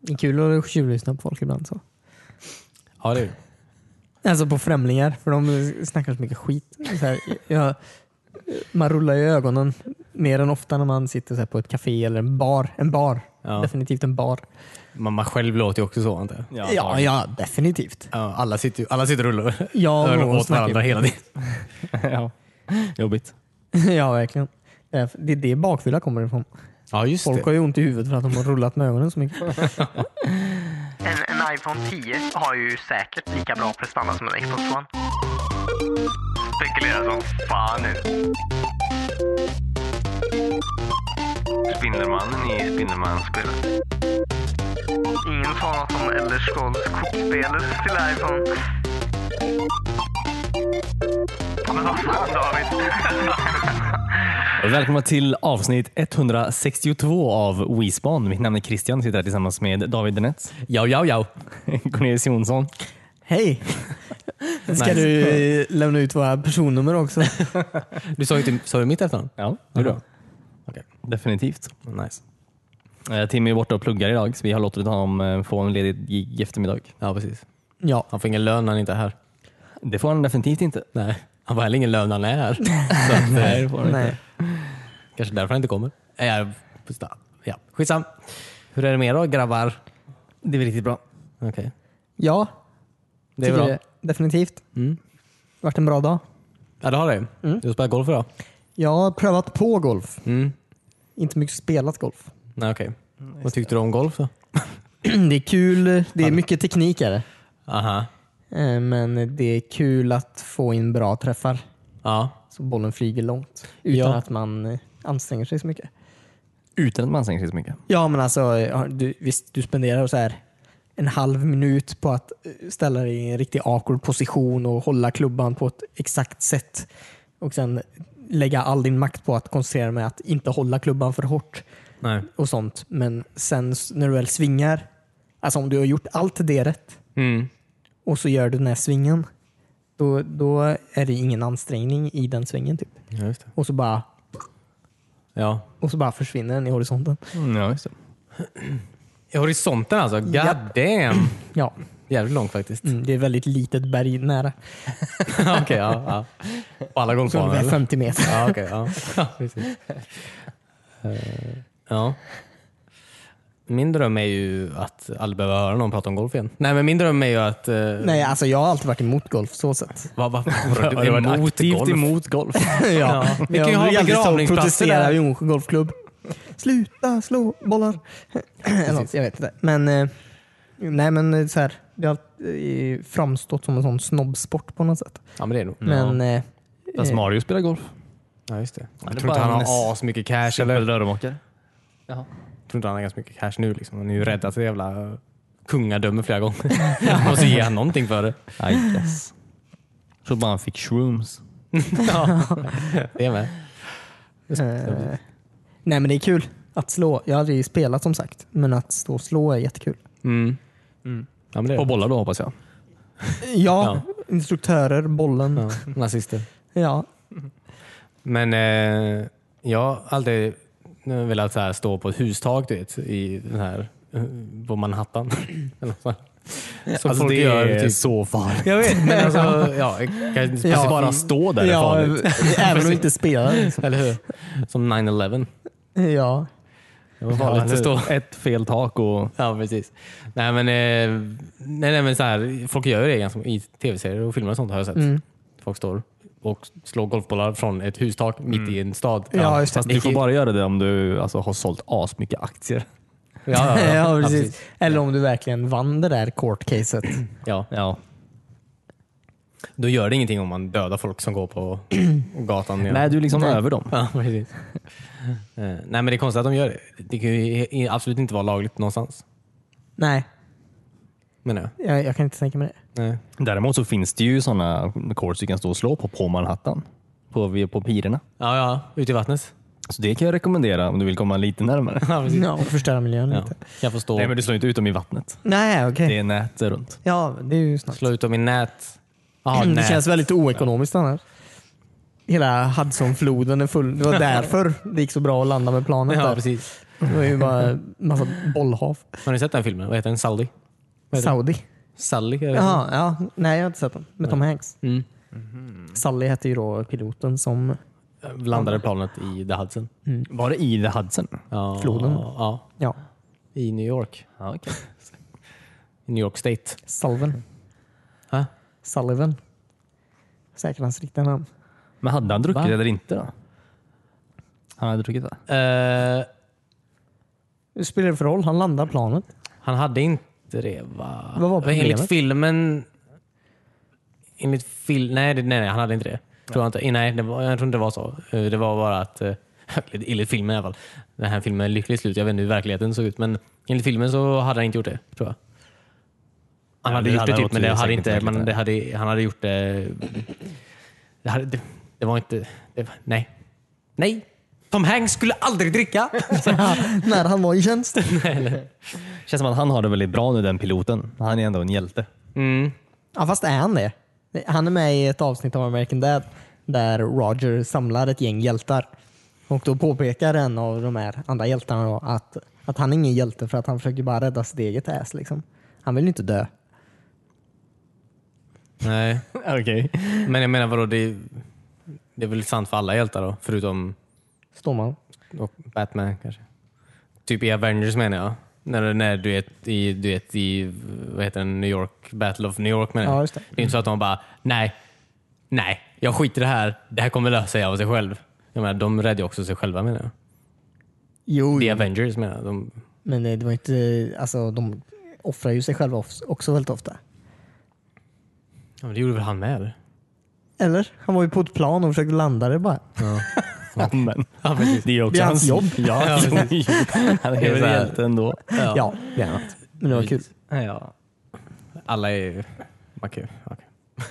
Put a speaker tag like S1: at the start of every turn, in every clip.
S1: Det är kul att tjuvlyssna på folk ibland. så.
S2: Ja, det är ju.
S1: Alltså på främlingar, för de snackar så mycket skit. Så här, jag, man rullar ju ögonen mer än ofta när man sitter så här på ett café eller en bar. En bar.
S2: Ja.
S1: Definitivt en bar.
S2: Mamma själv låter ju också så, antar jag.
S1: Ja, ja, definitivt.
S2: Ja, alla, sitter, ju- alla sitter och rullar
S1: Jag
S2: öl
S1: och Moa
S2: åt
S1: snackar ju-
S2: varandra hela tiden.
S3: ja. Jobbigt.
S1: ja, verkligen. Det är- Det är det bakfylla kommer ifrån.
S2: Ja, just
S1: Folk
S2: det.
S1: har ju ont i huvudet för att de har rullat med ögonen så mycket.
S4: En, en iPhone 10 har ju säkert lika bra prestanda som en Xbox One. Spekulerar som fan nu. Spindelmannen i Spindelmannen-spelet. Ingen fan som Elder Scrolls kortspelet till iPhone. Men vad fan David?
S3: Och Välkomna till avsnitt 162 av WeSpan. Mitt namn är Christian och sitter här tillsammans med David Denett,
S2: Ja, ja, ja.
S3: Cornelius Jonsson.
S1: Hej! Ska du eh, lämna ut våra personnummer också?
S2: Du sa ju inte, sa du mitt efternamn?
S3: Ja,
S2: det är bra.
S3: Okej, Definitivt.
S2: Nice.
S3: Eh, Timmy är borta och pluggar idag så vi har låtit honom eh, få en ledig gig eftermiddag.
S2: Ja, precis.
S1: Ja.
S2: Han får ingen lön när han inte är här.
S3: Det får han definitivt inte.
S2: Nej. Han får heller ingen lön när han är här. Så att, nej, det får han inte.
S1: Nej.
S2: Kanske därför han inte kommer. Eh, jag- Ja, skitsam. Hur är det med er då grabbar?
S3: Det är väl riktigt bra.
S2: Okej.
S1: Ja,
S2: Det är
S1: tycker
S2: bra.
S1: jag. Definitivt. Varit en bra dag.
S2: Ja, det har det. Du har spelat golf idag?
S1: Jag har prövat på golf.
S2: Mm.
S1: Inte mycket spelat golf.
S2: Nej, okej. Vad tyckte du om golf då?
S1: Det är kul. Det är mycket teknik är det.
S2: Aha.
S1: Eh, Men det är kul att få in bra träffar.
S2: Ja.
S1: Så bollen flyger långt. Utan
S2: Ja.
S1: att man eh, anstränger sig så mycket.
S3: Utan att man anstränger sig så mycket.
S1: Ja men alltså, eh, har- du, visst du spenderar så här en halv minut på att eh, ställa dig i en riktigt awkward position och hålla klubban på ett exakt sätt. Och sen lägga all din makt på att koncentrera med att inte hålla klubban för hårt.
S2: Nej.
S1: och sånt. Men sen s- när du väl svingar, alltså om du har gjort allt det rätt
S2: Mm.
S1: och så gör du den här svingen, då, då är det ingen ansträngning i den svingen. typ.
S2: Ja, just det.
S1: Och så bara,
S2: Ja.
S1: och så bara försvinner den i horisonten.
S2: Mm,
S3: ja, just det.
S2: I horisonten alltså? God
S1: Japp.
S2: damn!
S1: Ja,
S2: Jävligt långt faktiskt.
S1: mm, det är väldigt litet berg nära.
S2: Okej, ja, ja. På alla
S1: Så
S2: golfbanor?
S1: ungefär
S2: eller?
S1: 50 meter.
S2: Ja, okej. ja. ja, precis. Eh, ja. Min dröm är ju att aldrig behöva höra någon prata om golf igen. Nej, men min dröm är ju att... eh,
S1: Nej, alltså jag har alltid varit emot golf så sett.
S2: Vad va, va,
S3: Du har varit aktivt
S2: golf?
S3: emot golf.
S1: ja.
S2: Vi kan ju ha
S1: brukar alltid stå och
S2: begravningsplatser
S1: protestera
S2: där.
S1: i Onsjö golfklubb. Sluta slå bollar. Eller något, jag vet inte. Men, eh, nej, men eh, så här, det har alltid eh, framstått som en sån snobbsport på något sätt.
S2: Ja, men det är nog.
S1: Men eh,
S3: Fast Mario spelar golf.
S2: Mm. Ja, just det. Jag
S3: det är
S2: tror inte
S3: bara
S2: han
S3: en
S2: har as mycket cash. Eller?
S3: Simpel dörrmakare.
S2: Jag tror inte han har ganska mycket cash nu. Liksom. Han är ju räddat sitt jävla eh, kungadöme flera gånger. Han måste ge han någonting för det.
S3: I guess. Tror bara han fick shrooms.
S2: Ja, det är med.
S1: Eh, nej men det är kul att slå. Jag har aldrig spelat som sagt, men att stå och slå är jättekul.
S2: Mm. Ja, men det är
S3: På
S2: det.
S3: bollar då hoppas jag.
S1: Ja, instruktörer, bollen. Ja.
S2: Ja, nazister. Men eh, jag har alltid velat så här stå på ett hustak du vet, i den här, eh, på Manhattan. Eller så här. Som
S3: Alltså,
S2: folk
S3: det
S2: gör.
S3: är
S2: typ.
S3: så farligt.
S2: Jag vet, men alltså, ja, kanske
S1: Ja.
S2: bara
S3: Bara
S2: stå.
S3: stå där är
S1: ja,
S3: farligt.
S1: även om du inte spelar. Liksom.
S2: Eller hur? Som 9-11.
S1: Ja.
S2: Det var farligt att stå.
S3: Ett fel tak och...
S2: Ja, precis. Nej, men, eh, nej, nej, men så här, folk gör ju det ganska, i tv-serier och filmer och sånt har jag sett. Folk står och slår golfbollar från ett hustak mitt i en stad.
S1: Ja, just det.
S3: Fast du får bara göra det om du alltså, har sålt asmycket aktier.
S2: Ja, ja, ja.
S1: ja,
S2: Ja,
S1: precis. Eller om du verkligen vann det där court-caset.
S2: Ja.
S3: Ja.
S2: Då gör det ingenting om man dödar folk som går på gatan. igen.
S3: Nej, du är liksom
S1: Nej.
S3: över dem.
S2: Ja, precis. Eh, Nej, men det är konstigt att de gör det. Det kan ju i- absolut inte vara lagligt någonstans.
S1: Nej,
S2: Menar jag.
S1: jag, jag kan inte tänka mig det.
S2: Nej.
S3: Däremot så finns det ju sådana courts du kan stå och slå på på Manhattan. På, på pirerna.
S2: Ja, ja. Ute i vattnet.
S3: Så det kan jag rekommendera om du vill komma lite närmare.
S2: Ja, precis.
S1: Ja, och förstöra miljön
S2: Mm. Ja.
S1: lite.
S2: Mm. Kan få stå
S3: Nej, men du slår inte ut dem i vattnet.
S1: Nej, okej.
S3: Det är nät runt.
S1: Ja, det är ju snart. Mm,
S2: slå ut dem i nät. Ja,
S1: det
S2: nät.
S1: känns väldigt oekonomiskt annars. Hela Hudsonfloden är full. Det var därför det gick så bra att landa med planet
S2: Ja,
S1: där.
S2: precis.
S1: Det var ju bara massa bollhav.
S2: Har ni sett den filmen? Vad heter den? Sally? Vad heter
S1: Saudi.
S2: den? Sally? jag vet inte.
S1: Jaha, ja. Nej, jag har inte sett den. Med Tom Hanks.
S2: Mm.
S1: Sally hette ju då piloten som...
S2: Landade planet i The Hudson.
S3: Mm. Var det i The Hudson?
S2: Ja,
S1: Floden.
S2: Ja,
S1: Ja,
S2: i New York.
S3: Ja, okej.
S2: I New York State.
S1: Salven.
S2: Ha?
S1: Sullivan. Säkert hans riktiga namn.
S3: Men hade han druckit
S2: Va?
S3: eller inte då? Han hade druckit va?
S2: Eh,
S1: Det spelar det för roll? Han landar planet.
S2: han hade inte det va?
S1: Vad var problemet?
S2: Enligt filmen... Enligt fil, nej, det- nej, nej, han hade inte det. Tror jag, inte. Nej, det var, jag tror inte det var så. Eh, Det var bara att... eh, Enligt filmen i alla fall. Den här filmen är lyckligt slut. Jag vet inte hur verkligheten såg ut. Men enligt filmen så hade han inte gjort det, tror jag. Han
S3: Ja,
S2: hade
S3: det
S2: gjort
S3: hade
S2: det typ,
S3: varit
S2: men det hade
S3: säkert
S2: inte...
S3: möjligt,
S2: Men
S3: ja.
S2: det hade, han hade gjort det... Det, hade, det, det var inte... Det, var- nej. Nej! Tom Hanks skulle aldrig dricka!
S1: När han var i tjänst.
S3: Känns som att han har det väldigt bra nu den piloten. Han är ändå en hjälte.
S2: Mm.
S1: Ja, fast är han det? Han är med i ett avsnitt av American Dad där Roger samlar ett gäng hjältar. Och då påpekar en av de här andra hjältarna då att, att han är ingen hjälte för att han försöker bara rädda sitt eget ass. Liksom. Han vill ju inte dö.
S2: Nej.
S3: Okej.
S2: Men jag menar vadå, det, det är väl sant för alla hjältar då? Förutom
S1: Stormman.
S2: och Batman kanske. Typ i Avengers menar jag. När, när du är i, du vet, i vad heter den, New York, Battle of New York menar jag.
S1: Ja, just det.
S2: är inte så att de bara, nej, nej, jag skiter i det här. Det här kommer lösa sig av sig själv. Jag menar, de räddar ju också sig själva menar jag.
S1: Jo,
S2: The Avengers menar jag. De,
S1: men eh, det var inte... Alltså, de offrar ju sig själva of- också väldigt ofta.
S2: ja, men det gjorde väl han med eller?
S1: Eller? Han var ju på ett plan och försökte landa det bara.
S3: Men, det är ju
S1: Det
S3: också
S1: är hans jobb.
S3: Ja, precis. han är
S2: väl
S3: väl
S2: hjälte
S3: hjälte ändå.
S1: Ja, det är något. Men det var kul.
S3: Ja.
S2: Alla är ju... Man kan, man kan.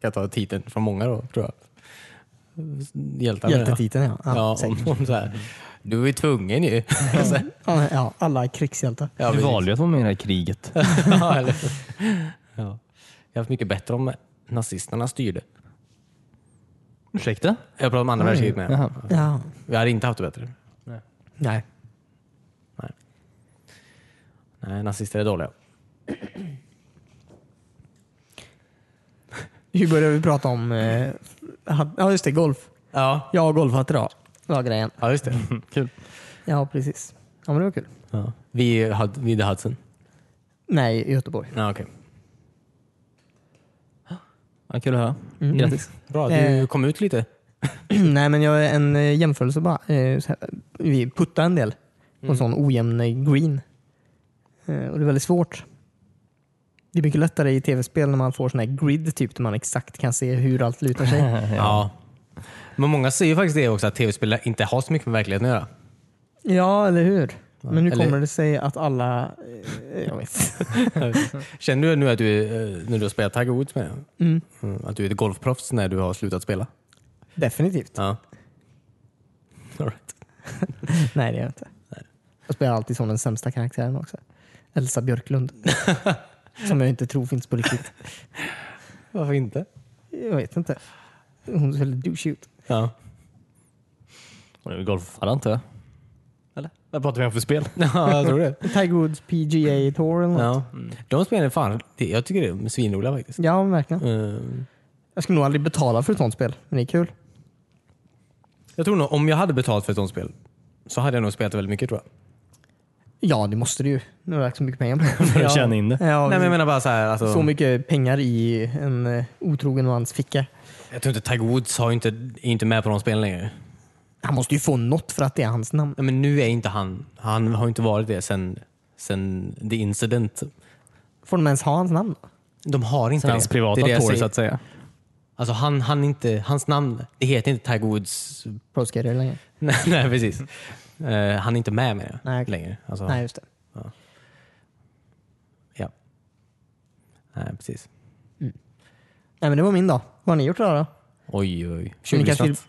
S2: kan ta titeln från många då, tror jag. Hjältar menar jag.
S1: Hjältetiteln ja. Ja,
S2: Ja,
S1: säkert.
S2: om, om så här. Du är ju tvungen ju. Så här.
S1: Ja, ja, alla är krigshjältar.
S2: Ja,
S3: du
S2: precis.
S3: valde ju att vara med i det här kriget.
S2: ja, eller, ja. Jag har haft mycket bättre om nazisterna styrde.
S3: Ursäkta?
S2: Jag pratar om andra världskriget med.
S3: Jaha.
S1: Ja.
S2: Jag hade inte haft det bättre.
S1: Nej.
S2: Nej, nazister är dåliga.
S1: Hur började vi prata om... Eh, ha- ja, just det. Golf.
S2: Ja,
S1: Jag har golfat idag. var grejen.
S2: ja just det.
S3: Kul.
S1: Ja, precis. Ja, men det var kul.
S2: Ja. Vi hade vid Hudson.
S1: Nej, i Göteborg.
S2: Ja, okay.
S3: Ja, kul att höra. Grattis.
S2: Bra,
S1: Eh.
S2: du kom ut lite.
S1: Nej, men jag är en eh, jämförelse bara. Eh, så här, vi puttar en del på en sån ojämn eh, green. Eh, och det är väldigt svårt. Det är mycket lättare i tv-spel när man får sån här grid typ där man exakt kan se hur allt lutar sig.
S2: Ja. Men många säger ju faktiskt det också, att tv-spel inte har så mycket med verkligheten att göra.
S1: ja, eller hur? Men hur
S2: Eller-
S1: kommer det sig att alla... Eh, jag vet.
S2: Känner du nu att du, eh, när du har spelat Tiger Woods med mm, att du är ett golfproffs när du har slutat spela?
S1: Definitivt.
S2: Ja. All right.
S1: Nej, det gör jag inte. Jag spelar alltid som den sämsta karaktären också. Elsa Björklund. som jag inte tror finns på riktigt.
S2: Varför inte?
S1: Jag vet inte. Hon ser väldigt douchig ut.
S2: Ja.
S3: Hon är väl golfare antar jag? Eller? Vad pratar vi om för spel?
S2: ja, jag tror det.
S1: Tiger Woods PGA Tour eller något. Ja,
S2: Ja. De spelen är fan, det- jag tycker det är svinroliga faktiskt.
S1: men verkligen.
S2: Ehm,
S1: Jag skulle nog aldrig betala för ett sånt spel, men det är kul.
S2: Jag tror nog om jag hade betalt för ett sånt spel så hade jag nog spelat väldigt mycket tror jag.
S1: Ja, det måste du ju. Nu har jag lagt så mycket pengar på det.
S3: För att tjäna in det.
S1: Ja,
S2: Nej men jag menar bara så här, alltså,
S1: Så mycket pengar i en eh, otrogen mans ficka.
S2: jag tror inte Tiger Woods har ju inte, är inte med på de spelen längre.
S1: Han måste ju få något för att det är hans namn.
S2: Nej, men nu är inte han, han har ju inte varit det sen, sen the incident.
S1: Får de ens ha hans namn?
S2: De har inte
S3: Sen
S2: det.
S3: hans
S2: det
S3: privata
S2: är det jag
S3: tour
S2: säger.
S3: så att säga.
S2: Alltså han, han inte, hans namn, det heter inte Tiger Woods.
S1: Pro skater längre.
S2: nej, nej precis. Eh, han är inte med med
S1: Nej, okej.
S2: längre. Alltså,
S1: Nej, just det.
S2: Ja. Nej, precis.
S1: Nej, men det var min dag. Vad har ni gjort idag då?
S2: Oj, oj, oj.
S1: Men ni kanske vill-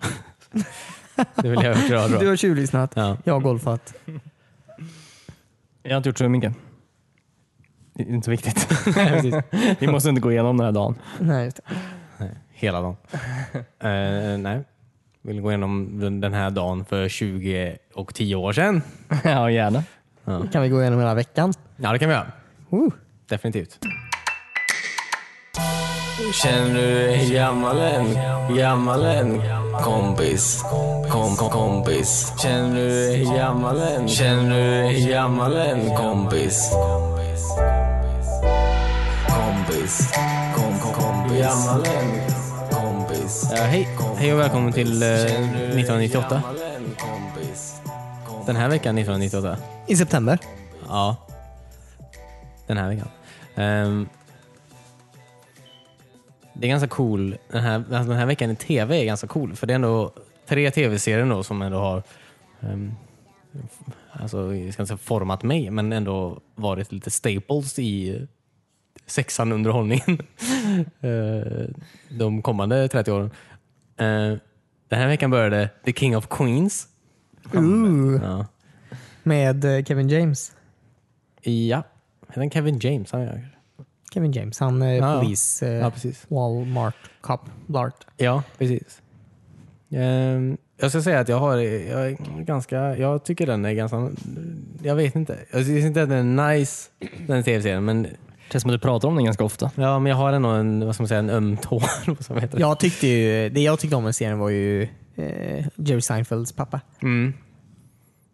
S2: Tjuvlyssnat. det vill jag höra
S1: Du
S2: bra.
S1: har tjuvlyssnat.
S2: Ja.
S1: Jag har golfat.
S3: Jag har inte gjort så mycket. Det är inte så viktigt.
S2: Nej, precis.
S3: Vi måste inte gå igenom den här dagen.
S1: Nej, just det.
S2: Hela dagen. Eh, nej. vill gå igenom den- den här dagen för 20 och 10 år sedan.
S3: ja, gärna.
S1: Kan vi gå igenom hela veckan?
S2: Ja, det kan vi göra.
S1: Uh.
S2: Definitivt. Känner du dig gammal än? Gammal än? Kompis. Kom, kom, kompis. Känner du dig gammal än? Känner du dig gammal än? Kompis.
S5: Kompis, kom, kom, kompis. Gammal än. Kompis,
S2: Ja, hej. hej och välkommen till eh, 1998.
S5: gammal än. Kompis, kom,
S2: Den här veckan 1998.
S1: I september.
S2: Ja. Den här veckan. Ehm, det är ganska cool. Den här, alltså den här veckan i tv är ganska cool. För det är ändå tre tv-serier ändå som ändå har ehm, f- alltså, jag ska inte säga format mig, men ändå varit lite staples i sexan underhållningen eh, de kommande 30 åren. Eh, den här veckan började The King of Queens.
S1: Uh,
S2: Ja.
S1: med eh, Kevin James.
S2: Ja, heter han Kevin James? Han är
S1: Kevin James, han är
S2: Ja, ja.
S1: polis. eh,
S2: Ja, precis.
S1: Walmart cop. Blart.
S2: Ja, precis. Ehm, jag ska säga att jag har, jag är ganska, jag tycker den är ganska, jag vet inte. Jag tycker inte att den är nice, den tv-serien, men,
S3: Känns som att du pratar om den ganska ofta.
S2: ja, men jag har ändå en, vad ska man säga, en öm tå. eller vad som heter.
S1: Jag tyckte ju, det jag tyckte om med serien var ju eh, Jerry Seinfelds pappa.
S2: Mm.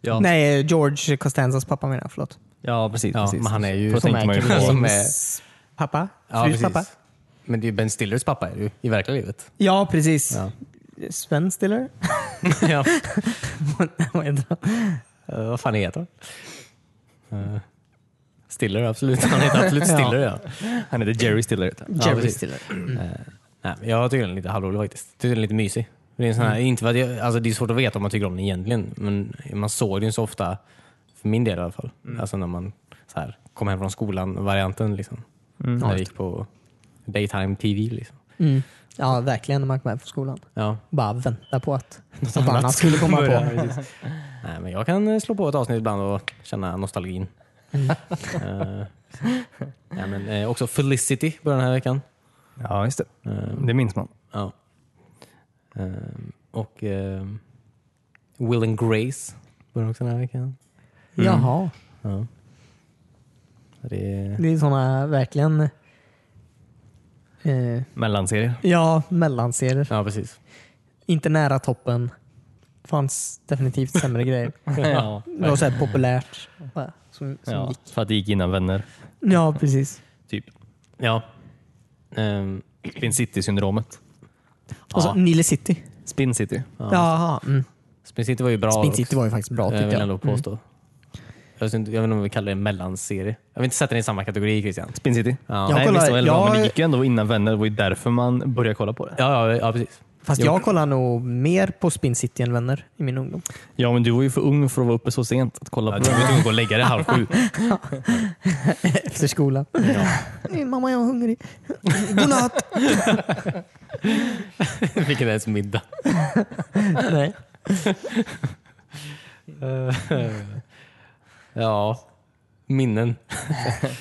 S2: Ja.
S1: Nej, George Costanzas pappa menar jag. Förlåt.
S3: Ja, precis.
S2: Ja,
S3: precis.
S2: men han är ju-
S3: Då
S2: Som
S3: tänkte man ju
S2: Kevin
S3: på.
S2: James.
S1: Som
S2: Som
S1: är
S2: är-
S1: pappa.
S2: Ja,
S1: Frus
S2: precis.
S1: pappa.
S2: Men det är ju Ben Stillers pappa är det ju, i verkliga livet.
S1: Ja, precis.
S2: Ja.
S1: Sven Stiller?
S2: ja.
S1: Vad heter han?
S2: Eh, vad fan heter han? Eh, Stiller, absolut. Han heter absolut Stiller, ja.
S3: Han heter Jerry Stiller. heter han.
S1: Jerry
S2: precis.
S1: Stiller.
S2: Nej, men jag tycker den är lite halvrolig faktiskt. Jag tycker den är lite mysig. Det är, en sån här, inte för att jag, alltså det är svårt att veta om man tycker om den egentligen, men man såg den så ofta, för min del i alla fall. Alltså när man så här, kom hem från skolan-varianten. Liksom. När jag gick på daytime TV. Liksom.
S1: Mm. Ja, verkligen när man kom hem från skolan.
S2: Ja.
S1: Bara vänta på att något annat skulle komma på.
S2: Nej, men jag kan eh, slå på ett avsnitt ibland och känna nostalgin. Eh, nej, men, eh, också Felicity börjar den här veckan.
S3: Ja, just det. Det minns man.
S2: Ja. Ehm, och ehm, Will and Grace börjar också den här veckan.
S1: Jaha,
S2: Ja. Det är,
S1: det är sådana verkligen eh,
S3: Mellanserie.
S1: ja, mellanserier.
S2: ja, precis.
S1: Inte nära toppen. fanns definitivt sämre grejer.
S3: ja,
S1: Det var så här populärt. bara, Som, som
S3: ja,
S1: gick.
S3: för att det gick innan Vänner.
S1: ja, precis.
S3: Typ.
S2: Ja. Ehm,
S3: Spin City-syndromet.
S1: Och så
S2: Ja.
S1: Nile City.
S3: Spin City.
S1: Jaha. Mm.
S2: Spin City var ju bra.
S1: Spin City var Mm. ju faktiskt bra
S2: också, jag
S1: tyckte
S2: vill
S1: jag.
S2: ändå påstå. Jag, vet inte, jag vet inte om vi kallar det en mellanserie. Jag vill inte sätta den i samma kategori Christian.
S3: Spin City.
S2: Ja.
S1: Jag
S3: Nej,
S1: kollar-
S3: visst, det var väldigt bra, men
S1: jag-
S3: det gick ju ändå innan Vänner. Det var ju därför man började kolla på det.
S2: Ja, ja, ja precis.
S1: Fast jag kollar nog mer på Spin City än Vänner i min ungdom.
S3: Ja, men du var ju för ung för att vara uppe så sent att kolla
S2: Ja,
S3: på
S2: du var
S3: det.
S2: tvungen att gå och lägga dig halv sju.
S1: Efter skolan. Eh, Mamma, jag är hungrig. Godnatt!
S2: Vilket är ens middag.
S1: Nej.
S2: Ja, minnen.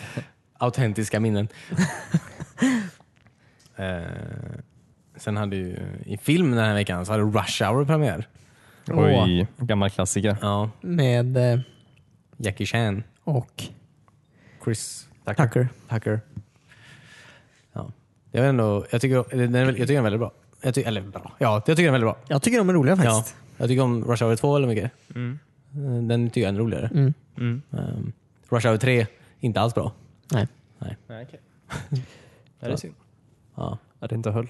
S2: Autentiska minnen. eh, sen hade ju i film den här veckan så hade Rush Hour premiär.
S3: Oj, gammal klassiker.
S2: Ja,
S1: Med eh,
S2: Jackie Chan,
S1: och
S2: Chris Tucker.
S1: Tucker.
S2: Tucker. Ja. Jag, vet ändå, jag, tycker, den är, väl- jag tycker den är väldigt bra. Jag ty, eller bra. Ja, jag tycker den är väldigt bra.
S1: Jag tycker de är roliga
S2: Ja,
S1: faktiskt.
S2: jag tycker om Rush Hour 2 väldigt mycket. Eh, Den tycker jag är roligare.
S1: Mm.
S2: Ehm, Rush Hour 3, inte alls bra.
S1: Nej.
S3: Nej, okej. det är synd.
S2: Ja.
S3: Att det inte höll.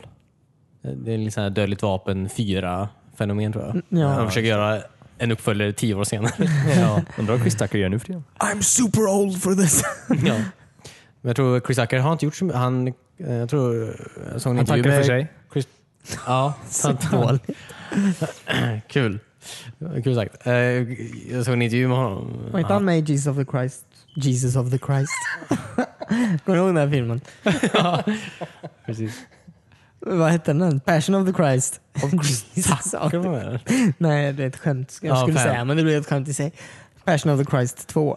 S2: Det är lite sån här dödligt vapen 4-fenomen tror jag.
S1: ja.
S2: Han försöker göra en uppföljare tio år senare.
S3: Ja. Undrar vad Chris Tucker gör nu för tiden.
S1: I'm super old for this.
S2: ja. Men jag tror Chris Tucker har inte gjort så mycket. Han, eh, jag tror, jag såg en
S3: Han
S2: intervju
S3: tackar för
S2: med-
S3: sig.
S2: Chris, ja,
S1: Så dåligt.
S2: kul. Kul sagt. Eh, Jag såg en intervju med honom.
S1: Var inte han med i Jesus of the Christ? Jesus of the Christ. Kommer du ihåg den här filmen?
S2: precis.
S1: Vad hette den? Passion of the Christ. Jesus of
S2: Ska
S1: the
S2: du vara med eller?
S1: Nej, det är ett skämt. Jag
S2: Ja,
S1: skulle
S2: fan.
S1: säga, men det blev ett skämt i sig. Passion of the Christ 2.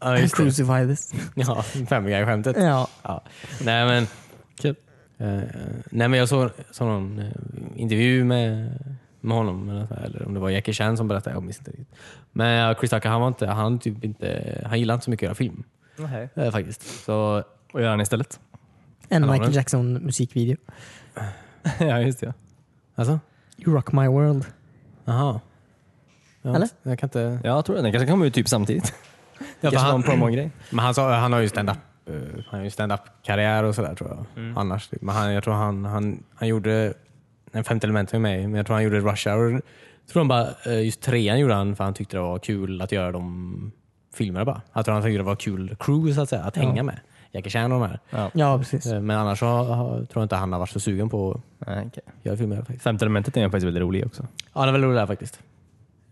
S2: Ja, just det.
S1: Crucify this.
S2: Ja, Family Guy-skämtet.
S1: Ja.
S2: Ja. Nej men... Kul. nej men jag såg, såg någon eh, intervju med, med honom. Eller, så här, eller om det var Jackie Chan som berättade, jag minns inte riktigt. Men ja, Chris Tucker, han, var inte, han, typ inte, han gillade inte så mycket att göra film.
S3: Nej.
S2: Eh, faktiskt. Så
S3: Vad gör han istället?
S1: En
S2: Ja,
S1: Michael
S2: men-
S1: Jackson musikvideo.
S3: ja, just det.
S2: Alltså?
S1: You rock my world.
S2: Jaha. Ja,
S1: Eller?
S2: Jag kan inte...
S3: Ja, jag tror det. Den kanske kommer ut typ samtidigt.
S2: Ja, för
S3: kanske någon
S2: han,
S3: promogrej.
S2: men han, sa, han har ju stand-up eh, han har ju stand-up-karriär och sådär tror jag. Annars. typ. Men han, jag tror han, han, han gjorde... En femte element med mig, men jag tror han gjorde Rush Hour. Jag tror han bara, eh, just trean gjorde han för han tyckte det var kul att göra de filmerna bara. Jag tror han tyckte det var kul crew så att säga, att hänga med. Jackie Chan och de här.
S1: Ja, precis.
S2: Eh, Men annars så har- har- tror jag inte han har varit så sugen på att
S3: Nej, okej.
S2: göra filmer faktiskt.
S3: Femte elementet är faktiskt väldigt rolig också.
S2: Ja, det är väl roligt där faktiskt.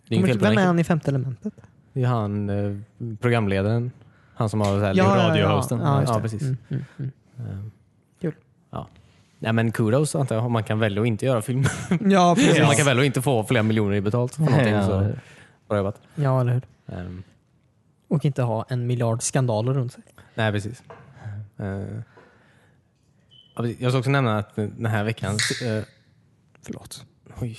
S2: Det är inget fel på
S1: Vem är
S2: den.
S1: han i Femte elementet?
S2: Det är han, eh, programledaren. Han som har så här
S3: radiohosten.
S1: Ja, just
S2: Ja,
S1: det.
S2: precis.
S1: Mm, mm, mm.
S2: Ja. Nej men kudos antar jag, om man kan välja att inte göra film.
S1: Ja, precis.
S2: Man kan välja att inte få flera miljoner i betalt för någonting.
S3: Ja.
S2: Så bra jobbat.
S1: Ja, eller hur?
S2: Ehm,
S1: Och inte ha en miljard skandaler runt sig.
S2: nej precis. Eh, ja, precis. jag ska också nämna att den här veckan... eh,
S1: Förlåt.
S2: oj.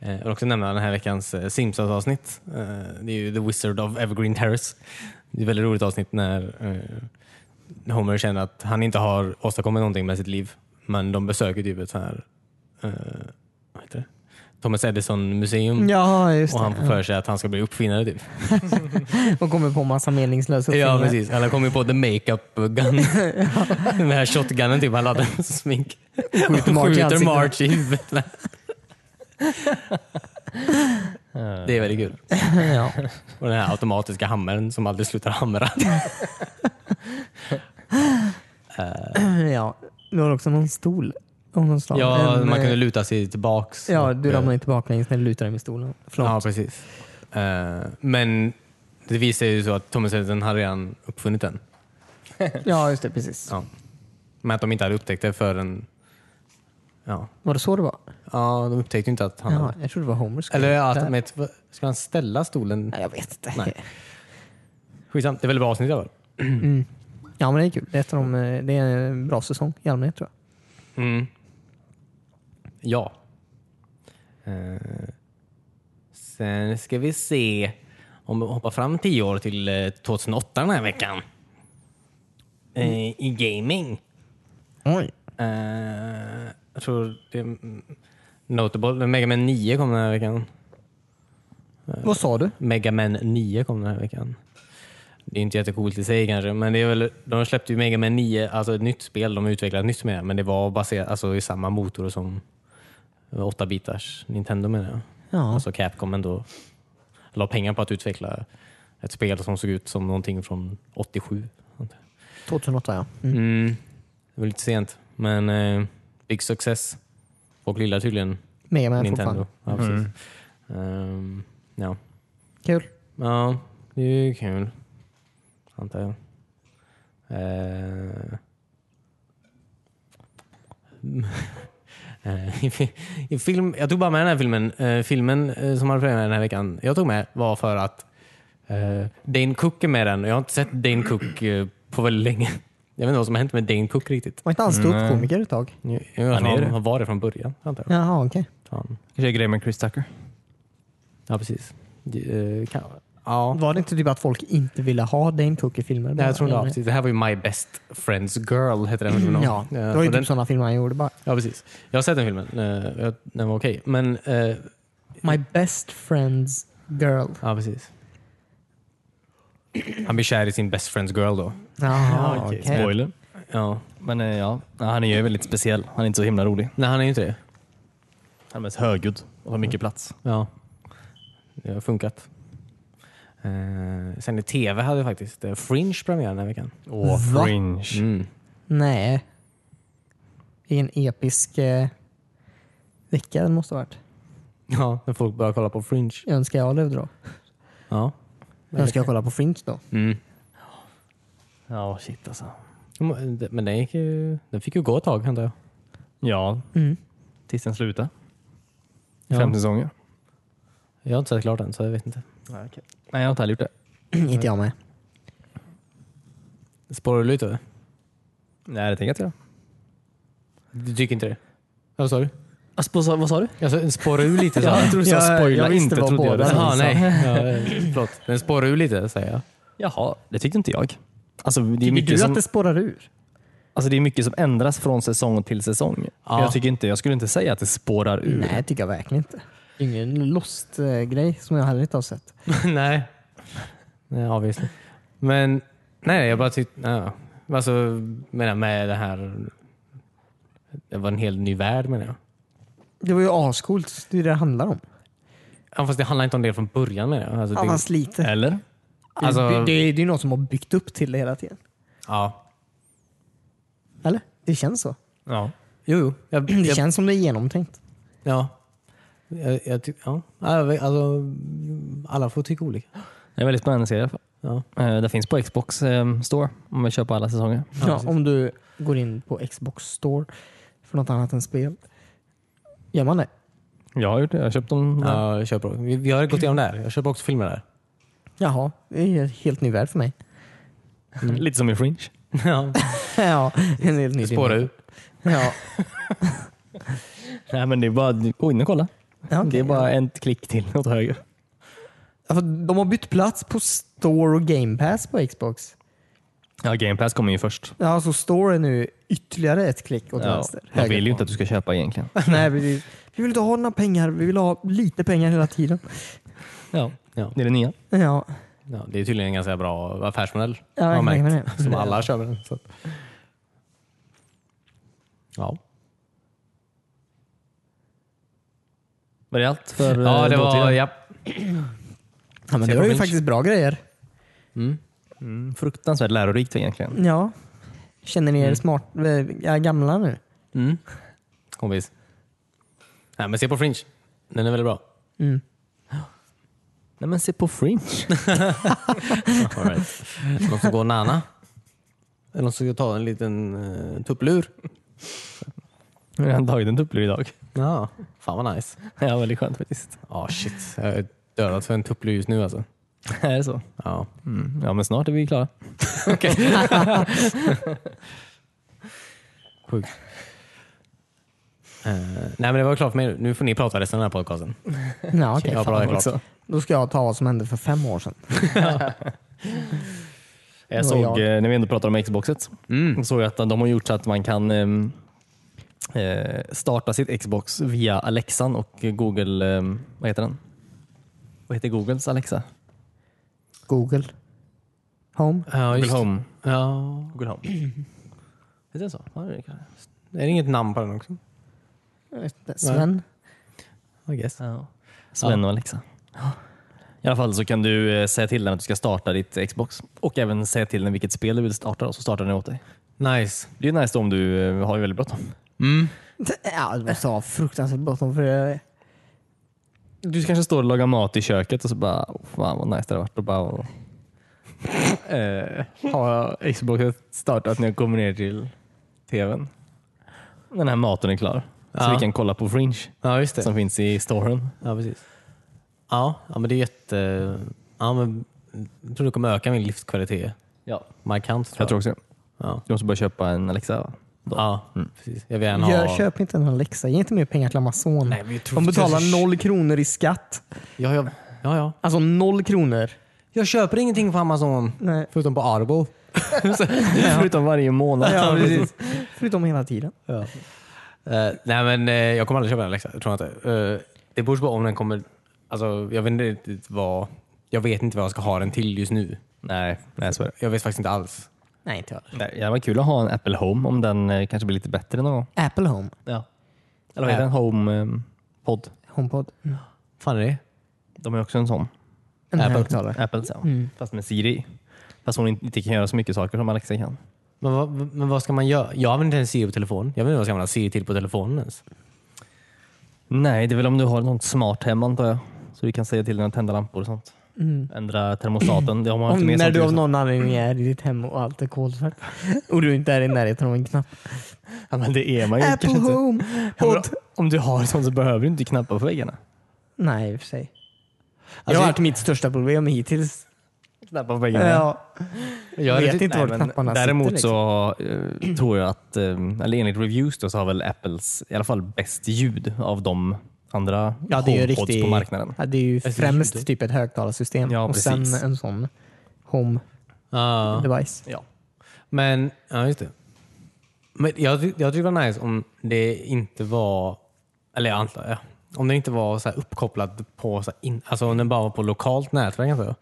S2: Eh, Jag vill också nämna den här veckans eh, Simpsons-avsnitt. Eh, Det är ju The Wizard of Evergreen Terrace. Det är ett väldigt roligt avsnitt när eh, Homer känner att han inte har åstadkommit någonting med sitt liv. Men de besöker typ ett så här, eh, vad heter det? Thomas Edison-museum.
S1: Ja, just
S2: Och han får
S1: det.
S2: för sig att han ska bli uppfinnare typ.
S1: Och kommer på massa meningslösa
S2: Ja
S1: uppfinningar.
S2: precis, han kom ju på the makeup gun. Den här shotgunen typ, han laddar med smink.
S1: Skjuter March i
S2: Skjuter
S1: ansiktet.
S2: March i huvudet. Det är väldigt kul.
S1: ja.
S2: Och den här automatiska hammaren som aldrig slutar hamra.
S1: ja. Du har också någon stol. Av någon slag.
S2: Ja,
S1: En,
S2: man kunde
S1: eh,
S2: luta sig tillbaks.
S1: Ja,
S2: Och,
S1: du
S2: eh,
S1: ramlar inte baklänges när du lutar dig med stolen. Förlåt.
S2: Ja, precis. Eh, men det visar ju så att Thomas Edison hade redan uppfunnit den.
S1: Ja, just det. Precis.
S2: Ja. Men att de inte hade upptäckt det förrän... Ja,
S1: Var det så det var?
S2: ja de upptäckte ju inte att han
S1: Ja,
S2: hade...
S1: jag trodde det var Homer. som
S2: Eller
S1: gjorde det
S2: att,
S1: där.
S2: men, ska han ställa stolen?
S1: Nej, jag vet inte.
S2: Nej. Skitsamt, det är väldigt bra avsnitt i alla fall.
S1: Ja, men det är kul. Det är, ett av de, eh, det är en bra säsong i allmänhet tror jag.
S2: Mm. Ja. Eh, sen ska vi se om vi hoppar fram tio år till eh, 2008 den här veckan. Eh, I gaming.
S1: Oj.
S2: Eh, jag tror det är mm, Notable. Mega Man 9 kom den här veckan.
S1: Vad sa du?
S2: Mega Man 9 kom den här veckan. Det är inte jättecoolt i sig kanske, men det är väl, de släppte ju Mega Man 9, alltså ett nytt spel. De utvecklade ett nytt med men det var baserat alltså, i samma motor som 8-bitars Nintendo menar jag.
S1: Ja.
S2: Alltså Capcom ändå la pengar på att utveckla ett spel som såg ut som någonting från 87.
S1: 2008 ja. Mm.
S2: Mm. Det var lite sent, men eh, big success. Folk gillar tydligen
S1: Mega Man
S2: Nintendo.
S1: fortfarande. Mm.
S2: Ja, precis. Ehm, ja.
S1: Kul.
S2: Ja, det är ju kul. Antar jag. Eh. Eh, i fi- I film, jag tog bara med den här filmen. Eh, filmen eh, som hade premiär den här veckan jag tog med var för att eh, Dane Cook är med i den. Jag har inte sett Dane Cook eh, på väldigt länge. Jag vet inte vad som har hänt med Dane Cook riktigt.
S1: Var inte han ståuppkomiker ett tag?
S2: Jag, jag,
S3: Han är
S2: han,
S3: det.
S2: han var det från början antar jag.
S1: Jaha, okej.
S2: Han,
S3: Kanske grejer med Chris Tucker.
S2: ja, precis. Eh, kan, ja.
S1: Var det inte typ att folk inte ville ha Dane Cook i filmer?
S2: Nej, jag tror det.
S1: Eller-
S2: Ja, precis. Det här var ju My Best Friends Girl, heter den filmen.
S1: Ja,
S2: Eh,
S1: det var ju
S2: och
S1: typ
S2: den,
S1: sådana filmer han gjorde bara.
S2: ja, precis. Jag har sett den filmen. Eh, jag- Den var okej. Men, eh,
S1: My best friend's girl.
S2: ja precis. Han blir kär i sin Best Friends Girl då.
S3: Ah,
S1: Jaha,
S2: Ja, okej.
S1: okej.
S3: Spoiler.
S2: Ja.
S3: Men eh, ja, Ja, han är ju väldigt speciell. Han är inte så himla rolig.
S2: Nej, han är ju inte det.
S3: Han är mest högljudd och har mycket plats.
S2: Ja. Det har funkat. Eh, sen i tv hade jag faktiskt eh, Fringe premiär den här veckan.
S3: Åh,
S1: Va?
S3: fringe.
S2: Mm.
S1: Nej. I en episk eh, vecka det måste ha varit.
S2: Ja, när folk börjar kolla på Fringe.
S1: Jag önskar jag levde då.
S2: Ja.
S1: Jag önskar jag kolla på Fringe då.
S2: Mm.
S3: Ja, shit alltså.
S2: Men den, gick ju, den fick ju gå ett tag antar jag.
S3: Ja,
S1: Mm.
S3: tills den slutar.
S2: Ja.
S3: Fem säsonger.
S2: Jag har inte sett klart den så jag vet inte.
S3: Nej, okej. Nej, jag har inte heller gjort det.
S1: inte jag med.
S2: Spårar du lite?
S3: Nej, det tänker jag inte göra.
S2: Du tycker inte det? Vad sa du?
S3: Aspo, sa- vad sa du?
S2: Alltså, spårar ur lite så.
S3: jag
S2: här.
S3: trodde du sa
S1: Jag-
S3: spoila
S1: jag visste
S3: inte.
S1: vad
S3: Trodde jag du
S1: båda Mm.
S3: sa.
S2: Jaha, nej. Ja, eh, förlåt. Den spårar ur lite, säger jag.
S3: Jaha, det tyckte inte jag. Alltså, det, är
S1: Tycker du
S3: mycket som,
S1: att det spårar ur?
S3: alltså, det är mycket som ändras från säsong till säsong.
S2: Ja.
S3: Jag, tycker inte, jag skulle inte säga att det spårar ur.
S1: Nej, tycker jag verkligen inte. Ingen Lost-grej som jag heller inte har sett.
S2: nej. Nej, obviously. Men nej, jag bara tyckte... Ja. Alltså, menar med det här... Det var en helt ny värld menar jag.
S1: Det var ju ascoolt. Det är det det handlar om.
S2: Ja, fast det handlar inte om det från början menar jag. Alltså, det,
S1: Annars lite.
S3: Eller?
S2: alltså,
S1: det, det, det, det är ju något som har byggt upp till det hela tiden.
S2: ja.
S1: Eller? Det känns så.
S3: Ja.
S2: Jo, jo. Jag,
S1: Det
S2: jag,
S1: känns som det är genomtänkt.
S2: ja. Jag, jag tyck, ja. Ja, jag vet, Alltså, alla får tycka olika.
S3: Det är en väldigt spännande serie i alla fall.
S2: Ja.
S3: Eh, Det finns på Xbox eh, Store om man köper alla säsonger.
S1: Ja, om du går in på Xbox store för något annat än spel. Gör man det?
S3: Jag har gjort det. Jag har köpt dem. där.
S2: Ja, jag köper också. Vi, vi har gått igenom det här. Jag köper också filmer där.
S1: Jaha, det är en helt ny värld för mig.
S3: Lite som i Fringe.
S2: Ja.
S1: ja, en helt ny
S2: Spåra
S1: dimension.
S2: ur.
S1: Ja,
S3: Nej, men det är bara gå in och kolla.
S1: ja,
S3: Det
S1: okej.
S3: är bara ett klick till åt höger.
S1: Ja, för de har bytt plats på Store och Game Pass på Xbox.
S3: Ja, Game Pass kommer ju först.
S1: Ja, så Store är nu ytterligare ett klick åt
S3: Ja,
S1: vänster.
S3: jag
S1: Höger.
S3: vill ju inte att du ska köpa egentligen.
S1: Nej, vi, vill- vi vill inte ha några pengar. Vi vill ha lite pengar hela tiden.
S3: Ja.
S2: Ja.
S3: Det är det nya.
S1: Ja,
S2: Ja, det är tydligen en ganska bra affärsmodell.
S1: jag
S2: har jag
S1: räknar
S2: märkt.
S1: med det.
S2: Som alla kör med den. Så. att- Ja.
S3: Var det allt för eh,
S2: ja, det var...
S3: dåtiden?
S2: Ja.
S1: Ja, men det var ju faktiskt bra grejer.
S3: Mm, fruktansvärt lärorikt egentligen.
S1: Ja. Känner ni er smart, eh, ja, gamla nu?
S2: Mm. Kompis. Nej, men se på Fringe. Den är väldigt bra.
S3: Nej, men se på Fringe.
S2: All right. Någon som går nana? Eller någon som ska ta en liten eh, tupplur?
S3: Jag har tagit en tupplur idag.
S2: Ja. Fan vad nice.
S3: Ja, väldigt skönt faktiskt.
S2: Ja, shit. Jag är dödat för en tupplur just nu alltså.
S3: Är det så?
S2: Ja.
S3: Mm. Ja, men snart är vi klara.
S2: Sjukt. Eh, nej men det var klart för mig nu. Nu får ni prata resten av den här podcasten.
S1: Ja, okej.
S2: Ja, bra,
S1: fan.
S2: det är klart.
S1: Också. Då ska jag ta vad som hände för fem år sedan.
S3: Jag
S1: Det var
S3: såg,
S1: jag.
S3: eh, när vi ändå pratade om Xboxet,
S2: Mm.
S3: såg jag att de har gjort så att man kan ehm, eh, starta sitt Xbox via Alexan och Google, ehm, vad heter den? Vad heter Googles Alexa?
S1: Google. Home.
S2: Ja,
S3: Google Home.
S2: Ja.
S3: Google Home. Heter det så? Ja, det kan jag.
S2: Är det inget namn på den också?
S1: Sven.
S2: I guess.
S3: Ja. Sven och Alexa. I alla fall så kan du eh, säga till den att du ska starta ditt Xbox och även säga till den vilket spel du vill starta och så startar den åt dig.
S2: Nice.
S3: Det är ju nice om du eh, har ju väldigt bråttom.
S1: Ja, det måste ha fruktansvärt bråttom för det.
S3: Du kanske står och lagar mat i köket och så bara, "Åh, fan vad nice det hade varit att bara eh, ha Xboxet startat när jag kommer ner till tvn. Den här maten är klar. Så
S2: Ja.
S3: vi kan kolla på Fringe
S2: Ja, just det.
S3: som finns i storen.
S2: Ja, precis. Ja, ja men det är jätte... Ja, men, jag tror det kommer öka min livskvalitet
S3: Ja,
S2: markant. Tror
S3: jag tror också det.
S2: Ja.
S3: Du måste bara köpa en Alexa va?
S2: Ja, precis. Mm. Jag vill gärna
S1: Gör,
S2: ha...
S1: Köp inte en Alexa. Ge inte mer pengar till Amazon.
S2: Nej, vi tror-
S1: De betalar noll kronor i skatt.
S2: Ja, ja. ja, ja.
S1: Alltså noll kronor.
S2: Jag köper ingenting på Amazon.
S1: Nej.
S2: Förutom på Arbo.
S3: Förutom varje månad.
S1: Ja, precis. Förutom hela tiden.
S2: Eh, nej men eh, jag kommer aldrig köpa en Alexa, tror jag inte. Eh, det beror på om den kommer... Alltså, jag vet inte riktigt vad... Jag vet inte vad jag ska ha den till just nu.
S3: Nej, nej så är det.
S2: Jag vet faktiskt inte alls.
S1: Nej, inte jag.
S3: Nej, Det var kul att ha en Apple Home om den eh, kanske blir lite bättre någon gång.
S1: Apple Home.
S3: Ja. Eller vad heter den? Home eh, Pod.
S1: HomePod. Mm.
S2: fan är det?
S3: De har ju också en sån.
S1: En
S3: Apple.
S1: högtalare.
S3: Apples ja.
S1: Mm.
S3: Fast med Siri. Fast hon inte kan göra så mycket saker som Alexa kan.
S2: Men, vad, men vad ska man göra? Jag använder inte ens Siri på telefonen. Jag vet inte vad jag ska använda Siri till på telefonen ens.
S3: Nej, det är väl om du har något smart hemma antar jag. Så du kan säga till den att tända lampor och sånt. Ändra termostaten. Det har man
S1: Om,
S3: inte med
S1: Mm. när
S3: sånt
S1: du
S3: i
S1: av
S3: USA.
S1: någon anledning är i ditt hem och allt är kolsvart och du inte är i närheten av en knapp.
S3: ja, men det är man ju
S1: Apple
S3: kanske inte.
S1: Home!
S3: Ja, men
S1: Pod.
S3: Om du har sånt så behöver du inte knappar på väggarna.
S1: Nej, i och för sig. Det
S2: Alltså,
S1: har
S2: jag-
S1: varit mitt största problem hittills.
S3: Snabba på pengarna.
S1: Ja.
S3: Jag
S1: Vet
S3: vet
S1: inte
S3: inte
S1: vart knapparna sitter, liksom.
S3: Däremot så eh, tror jag att, eh, eller enligt reviews då, så har väl Apples i alla fall bäst ljud av de andra
S1: Ja, det är ju
S3: HomePods
S1: riktigt,
S3: på marknaden.
S1: Ja, det är ju
S2: Ett
S1: främst
S2: ljud.
S1: typ ett högtalarsystem
S3: Ja,
S1: och
S3: precis.
S1: sen en sån home
S2: Ja.
S1: device.
S3: Ja.
S2: Men, ja just det. Men jag, ty- jag tyckte det var nice om det inte var, eller jag antar, ja, om det inte var så här uppkopplat på, så här in, alltså om den bara var på lokalt nätverk antar jag.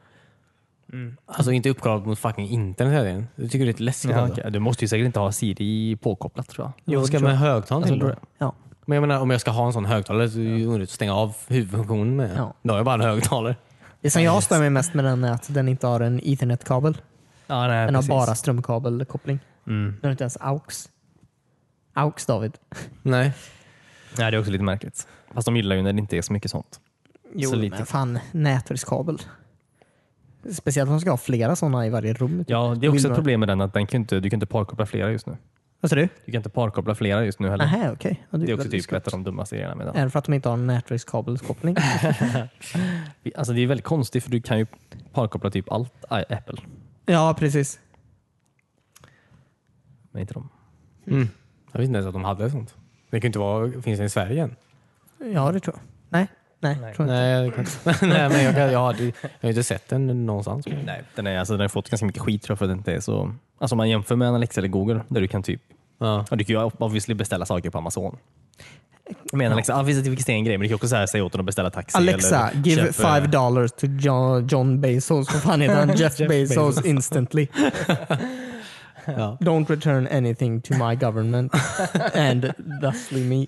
S3: Mm.
S2: Alltså inte uppkopplat mot fucking internet hela tiden. Jag tycker det är lite läskigt.
S3: Ja,
S2: alltså.
S3: okej. Du måste ju säkert inte ha Siri påkopplat tror jag.
S1: Jo,
S2: Vad ska
S1: det tror
S2: man högtalaren till?
S3: tror
S2: då?
S3: jag.
S1: Ja.
S2: Men jag menar om jag ska ha en sån högtalare så är det ju onödigt att stänga av huvudfunktionen med.
S1: Ja.
S2: Då har jag bara en högtalare.
S1: Det som jag stör mig mest med den är att den inte har en ethernet-kabel.
S3: Ja, nej,
S1: Den har bara strömkabelkoppling. Den har inte ens aux. Aux David.
S2: Nej.
S3: Nej, det är också lite märkligt. Fast de gillar ju när det inte är så mycket sånt.
S1: Jo,
S3: Så lite.
S1: men fan nätverkskabel. Speciellt om de ska ha flera sådana i varje rum.
S3: Ja, det är också ett problem med den att den kan ju inte, du kan inte parkoppla flera just nu.
S1: Vad sa du?
S3: Du kan inte parkoppla flera just nu heller.
S1: Nähä, okej. Ja,
S3: Det är också
S1: väldigt
S3: typ
S1: skumt.
S3: ett av de dummaste grejerna med den.
S1: Är det för att de inte har en nätverkskabelkoppling?
S3: Alltså, det är väldigt konstigt för du kan ju parkoppla typ allt i- Apple,
S1: ja, precis.
S3: men inte dem.
S2: Mm. Jag visste inte ens att de hade sånt. Det kan ju inte vara, finns det i Sverige än?
S1: Ja, det tror jag. Nej, nej.
S3: Nej.
S1: Tror jag inte.
S2: Nej, jag kan inte. Nej, men jag, kan, jag, har, jag har inte sett den någonstans.
S3: Nej, den, är, alltså, den har fått ganska mycket skit tror jag för att den inte är så... Alltså om man jämför med en Alexa eller Google där du kan typ...
S2: Ja.
S3: Ja, du kan ju obviously beställa saker på Amazon. Men Alexa, ja, visst, vilket är en grej, men du kan också så här säga åt den att beställa taxi.
S1: Alexa,
S3: eller
S1: give
S3: köp, eh,
S1: five dollars to John, John Bezos. Vad fan heter han? Jeff,
S2: Jeff
S1: Bezos,
S2: Bezos.
S1: instantly.
S2: Ja.
S1: Don't return anything to my government and thusly me.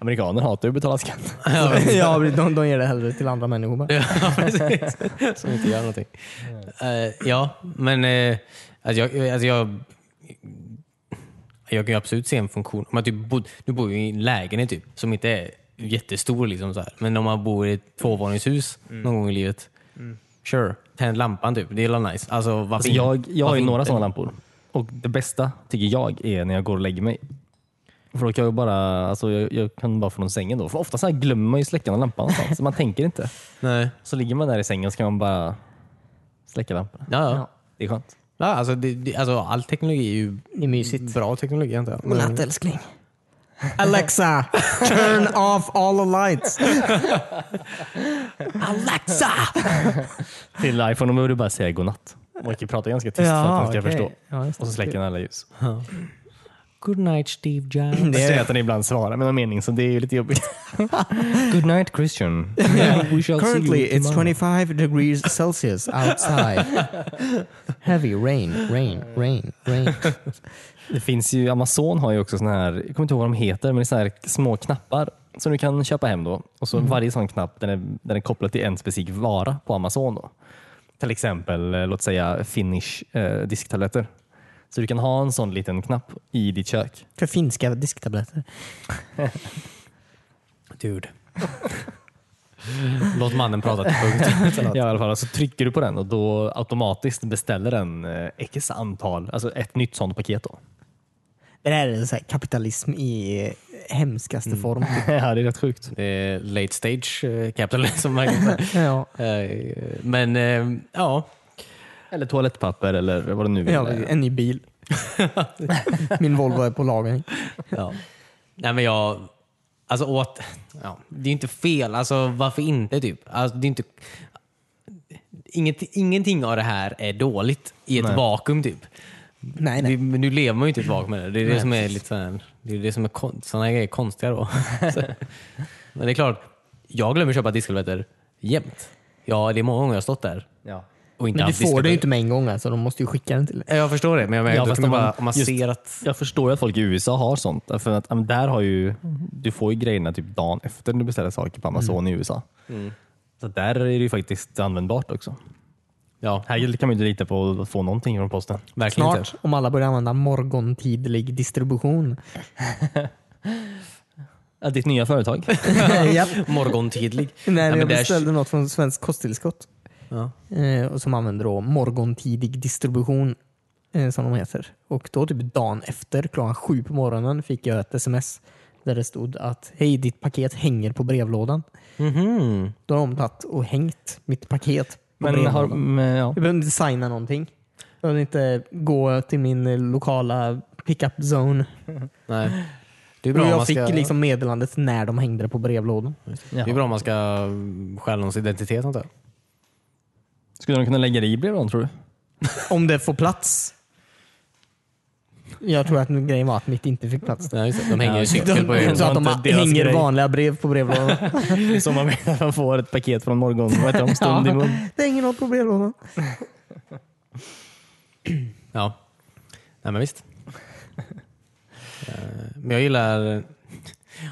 S3: Amerikaner hatar ju att betala skatt.
S1: ja, de, de ger det hellre till andra människor. bara.
S2: Ja, precis. Som inte gör någonting. Eh, ja, men eh, alltså jag, alltså jag, jag kan ju absolut se en funktion. Om man typ bod, du bor ju i en lägenhet typ, som inte är jättestor, liksom så här. men om man bor i ett tvåvåningshus någon gång i livet. Sure, tänd lampan typ. Det är väl nice. Alltså, varför
S3: Alltså,
S2: inte?
S3: jag, jag har
S2: Varför
S3: ju några
S2: inte?
S3: sådana lampor. Och det bästa tycker jag är när jag går och lägger mig. För då kan jag ju bara, alltså, jag, jag kan bara från sängen då. För ofta så här glömmer man ju släcka någon lampa någonstans, så man tänker inte.
S2: Nej.
S3: Så ligger man där i sängen så kan man bara släcka lampan.
S2: Ja, ja.
S1: Ja.
S3: Det är skönt.
S2: ja alltså, det, det, alltså, all teknologi är ju
S1: Det är mysigt.
S2: bra teknologi antar jag. Men-
S1: Godnatt älskling. Alexa, turn off all the lights. Alexa!
S3: Till iPhone behöver du bara säga godnatt. Man kan ju prata ganska tyst för att den ska förstå. Och så släcker den alla ljus.
S2: Good night Steve Jobs.
S3: Det är att den ibland svarar med någon mening, så det är ju lite jobbigt. Good night Christian. We shall see
S1: Currently
S3: you
S1: it's
S3: tomorrow.
S1: 25 degrees Celsius outside. Heavy rain, rain, rain, rain.
S3: Det finns ju, Amazon har ju också såna här, jag kommer inte ihåg vad de heter, men det är så här små knappar som du kan köpa hem då. Och så varje sån knapp den är, den är kopplad till en specifik vara på Amazon. Då. Till exempel, eh, låt säga Finish eh, disktabletter. Så du kan ha en sån liten knapp i ditt kök.
S1: För finska disktabletter.
S2: Dude. Låt mannen prata till punkt.
S3: Ja, i alla fall. Så trycker du på den och då automatiskt beställer den eh, x antal, alltså ett nytt sånt paket. Då.
S1: Det där är så här kapitalism i eh, hemskaste form. typ.
S3: ja, det är rätt sjukt.
S2: Det är late stage eh, capitalism. verkligen.
S1: Ja.
S2: Eh, Men eh, ja,
S3: Eller toalettpapper eller vad det nu vill.
S1: Ja, en ny bil. Min Volvo är på lagring.
S2: ja. Nej men jag... Alltså åt... Ja, det är inte fel. Alltså varför inte typ? Alltså, det är inte, inget, ingenting av det här är dåligt i ett vakuum typ.
S1: Nej,
S2: Det,
S1: nej.
S2: men nu lever man ju inte i ett vakuum heller. Det är det som är lite sån, det är det som är kon, såna grejer är konstiga då. Så- men det är klart, jag glömmer köpa disktabletter jämt. Ja, det är många gånger jag har stått där
S3: Ja.
S2: och inte
S1: Men du
S2: haft
S1: får det ju
S2: disktabletter.
S1: inte med en gång alltså. De måste ju skicka den till dig.
S2: Jag förstår det, men jag menar,
S3: Ja,
S2: då
S3: fast
S2: kan man
S3: om man-
S2: bara, om man
S3: just-
S2: ser att...
S3: Jag förstår ju att folk i USA har sånt. För att, äm, där har ju, du får ju grejerna typ dagen efter du beställer saker på Amazon
S2: Mm.
S3: i USA. Så där är det ju faktiskt användbart också.
S2: Ja,
S3: Här kan man ju inte lita på att få någonting från posten.
S2: verkligen
S1: Snart,
S2: inte.
S1: om alla börjar använda morgontidlig distribution.
S3: Ja, ditt nya företag.
S1: Japp.
S2: Morgontidlig.
S1: Nej,
S2: men
S1: jag
S2: det är-
S1: beställde något från Svensk kosttillskott.
S2: Ja.
S1: Eh, och som använder då morgontidig distribution, eh, som de heter. Och då typ dagen efter, klockan sju på morgonen, fick jag ett sms där det stod att hej, ditt paket hänger på brevlådan.
S2: Mhm.
S1: Då har de tagit och hängt mitt paket
S3: Men
S1: bredvid
S3: har,
S1: honom.
S3: men, ja.
S1: Jag behövde inte signa någonting. Jag behövde inte gå till min eh, lokala pickup zone.
S2: Nej. Det är
S1: Och
S2: bra om man
S1: jag fick
S2: ska,
S1: liksom meddelandet när de hängde det på brevlådan.
S2: det är bra om man ska mm, stjäla någons identitet antar jag.
S3: Skulle de kunna lägga det i brevlådan tror du?
S1: Om det får plats. Jag tror att grejen var att mitt inte fick plats.
S2: Nej, just det. De hänger
S3: Ja,
S2: ju
S3: okej.
S2: cykel på
S3: Det
S1: Så
S2: ögonen.
S3: var
S1: att de
S3: inte deras
S1: hänger
S3: grej.
S1: vanliga brev på brevlådan.
S3: Det är så man vet att man får ett paket från morgon vad heter de, stund i mun.
S1: det hänger något på brevlådan.
S2: Ja. Nej men visst. Eh, men jag gillar,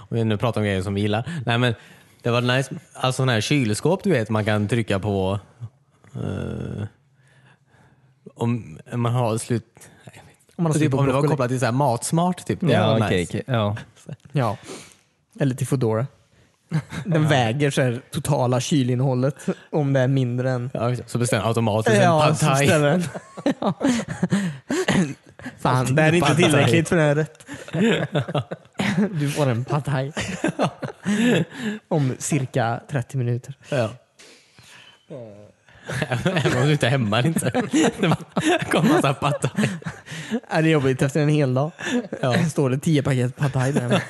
S2: om vi nu pratar om grejer som vi gillar. Nej men det var nice, alltså sådana här kylskåp du vet man kan trycka på eh, om man har slut,
S1: Om man har slut
S2: typ,
S1: på
S2: om det var
S1: broccoli.
S2: kopplat till så här matsmart typ. Det
S3: Ja,
S2: var
S3: okej.
S2: nice.
S3: okej, ja.
S1: Ja. Eller till Foodora. Den väger så här, totala kylinnehållet om det är mindre än
S2: Ja, just det. så bestämmer automatiskt en
S1: Ja,
S2: pad
S1: så
S2: thai.
S1: ställer den. Ja. Fan, det här är inte
S2: Pad thai.
S1: tillräckligt för den här rätt. Du får en pad thai. Om cirka 30 minuter.
S2: Ja. Även om du inte är hemma eller inte. Det bara kom massa pad thai.
S1: Är Äh, det är jobbigt efter en hel dag? Står det 10 paket pad thai där.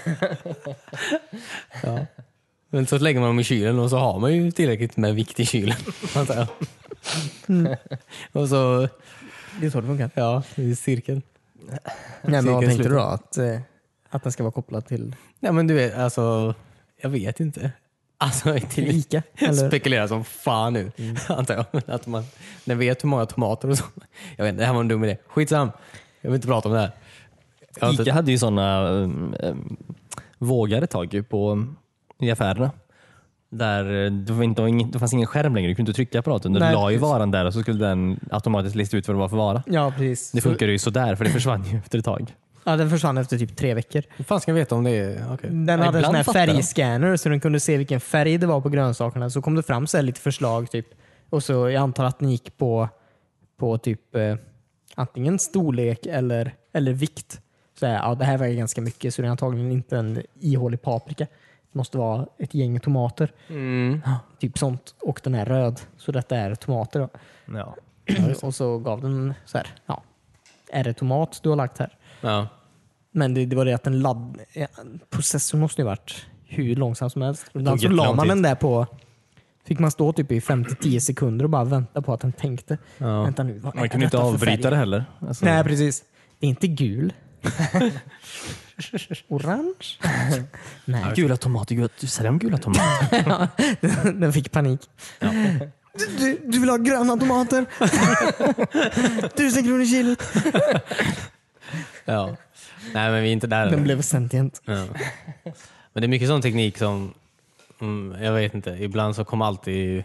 S2: Men så lägger man dem i kylen och så har man ju tillräckligt med vikt i kylen. antar jag.
S1: Mm.
S2: Och så,
S1: Det är så det funkar.
S2: ja, det är cirkeln.
S1: Nej, men vad
S2: Cirkeln
S1: tänkte du
S2: sluter.
S1: då? Att, eh, att den ska vara kopplad till...
S2: Nej men du vet, alltså, jag vet inte. Alltså, jag är till
S1: Ica, eller?
S2: Eller? Spekulerar som fan nu, antar jag. Men Att man, när vet hur många tomater och så. Jag vet inte, det här var en dum idé. Skitsam. Jag vill inte prata om det här. Jag har inte-
S3: Ica hade ju sådana um, um, vågar ett tag ju på, um, i affärerna. Där eh, det, var inte, det var ingen- det fanns ingen skärm längre, du kunde inte trycka på datorn. Du
S1: Nej,
S3: la ju
S1: precis.
S3: varan där och så skulle den automatiskt lista ut vad det var för vara.
S1: Ja, precis.
S3: Det funkade ju sådär för det försvann ju efter ett tag.
S1: Ja, den försvann efter typ tre veckor.
S2: Hur fan ska jag veta om det är... okej.
S1: Den hade en
S3: ibland
S1: sån här
S3: fattar jag.
S1: färgscanner så den kunde se vilken färg det var på grönsakerna. Så kom det fram så här lite förslag. typ. Och så Jag antar att ni gick på, på typ eh, antingen storlek eller, eller vikt. Så här, ja, det här väger ganska mycket så det är antagligen inte en ihålig paprika. Det måste vara ett gäng tomater.
S2: Mm.
S1: Typ sånt. Och den är röd. Så detta är tomater. Då.
S3: Ja.
S1: och så gav den så här. Ja, är det tomat du har lagt här?
S2: Ja.
S1: Men det, det var det att den ladd... ja, Processorn måste ju varit hur långsam som helst. Ibland så la
S3: jättelång
S1: man
S3: tid.
S1: den där på... Fick man stå typ i 5-10 sekunder och bara vänta på att den tänkte. Vänta nu, vad är
S3: Man kunde inte
S1: detta för
S3: avbryta
S1: färg?
S3: det heller. Alltså,
S1: Nej, precis. Det är inte gul. Orange? Nej,
S3: Gula tomater, gula, du säljer de gula tomater?
S1: den fick panik. Du, du, du vill ha gröna tomater? Tusen kronor kilot.
S2: ja. Nej men vi är inte där
S1: Den
S2: än.
S1: blev sentient.
S2: Ja. Men det är mycket sån teknik som, mm, jag vet inte, ibland så kommer alltid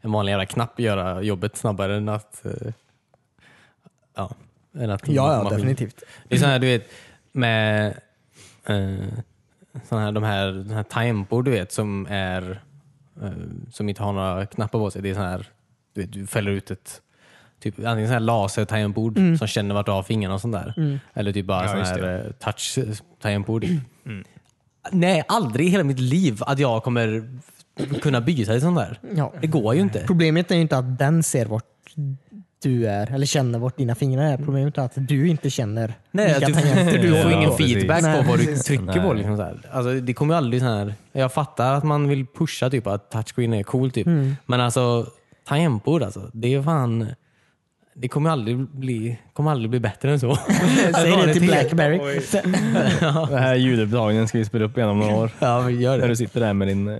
S2: en vanlig jävla knapp göra jobbet snabbare än att... eh, Ja, än att
S1: Ja, ja,
S2: maskin-
S1: definitivt.
S2: Det är så här, du vet, med eh, sån här, de här, den här timebord du vet som är eh, som inte har några knappar på sig. Det är sån här, du, vet, du fäller ut ett Typ, antingen sån här laser-tangentbord som känner vart du har fingrarna och sånt där. Eller typ bara sån
S3: just
S2: här eh, touch-tangentbord. Nej, aldrig i hela mitt liv att jag kommer kunna byta i sånt där.
S1: Ja.
S2: Det går ju inte.
S1: Problemet är ju inte att den ser vart du är eller känner vart dina fingrar är. Problemet är att du inte känner
S2: Nej,
S1: vilka
S2: att du,
S1: tangenter
S2: du får
S1: har.
S2: ingen
S3: Ja, precis.
S2: feedback
S1: Nej,
S2: på vad du
S1: typ- precis.
S2: trycker på. Liksom så här. Alltså, det kommer ju aldrig så här. Jag fattar att man vill pusha typ att touchscreen är cool, typ.
S1: Mm.
S2: men alltså tangentbord alltså. Det är fan... Det kommer aldrig bli, kommer aldrig bli bättre än så.
S1: Säg det till Blackberry.
S3: Den här ljudupptagningen ska vi spela upp igen om några år.
S2: Ja, men gör
S3: När
S2: det.
S3: du sitter där med din eh,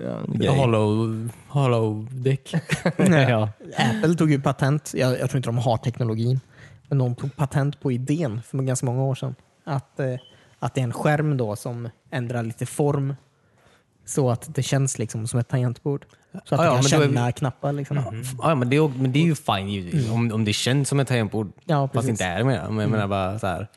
S3: ja, grej.
S2: Hollow, hollow däck.
S3: Ja.
S1: Apple tog ju patent, jag, jag tror inte de har teknologin, men de tog patent på idén för ganska många år sedan. Att, eh, att det är en skärm då som ändrar lite form så att det känns liksom som ett tangentbord. Så att
S2: Ja, ja,
S1: du
S2: men då
S1: kan
S2: är vi-
S1: känna knappar. Liksom.
S2: Ja, men, det är, men det är ju fine givetvis, om, om det känns som ett tangentbord.
S1: Mm. Ja,
S2: fast
S1: precis.
S2: det inte är det menar jag. Men jag menar bara så här.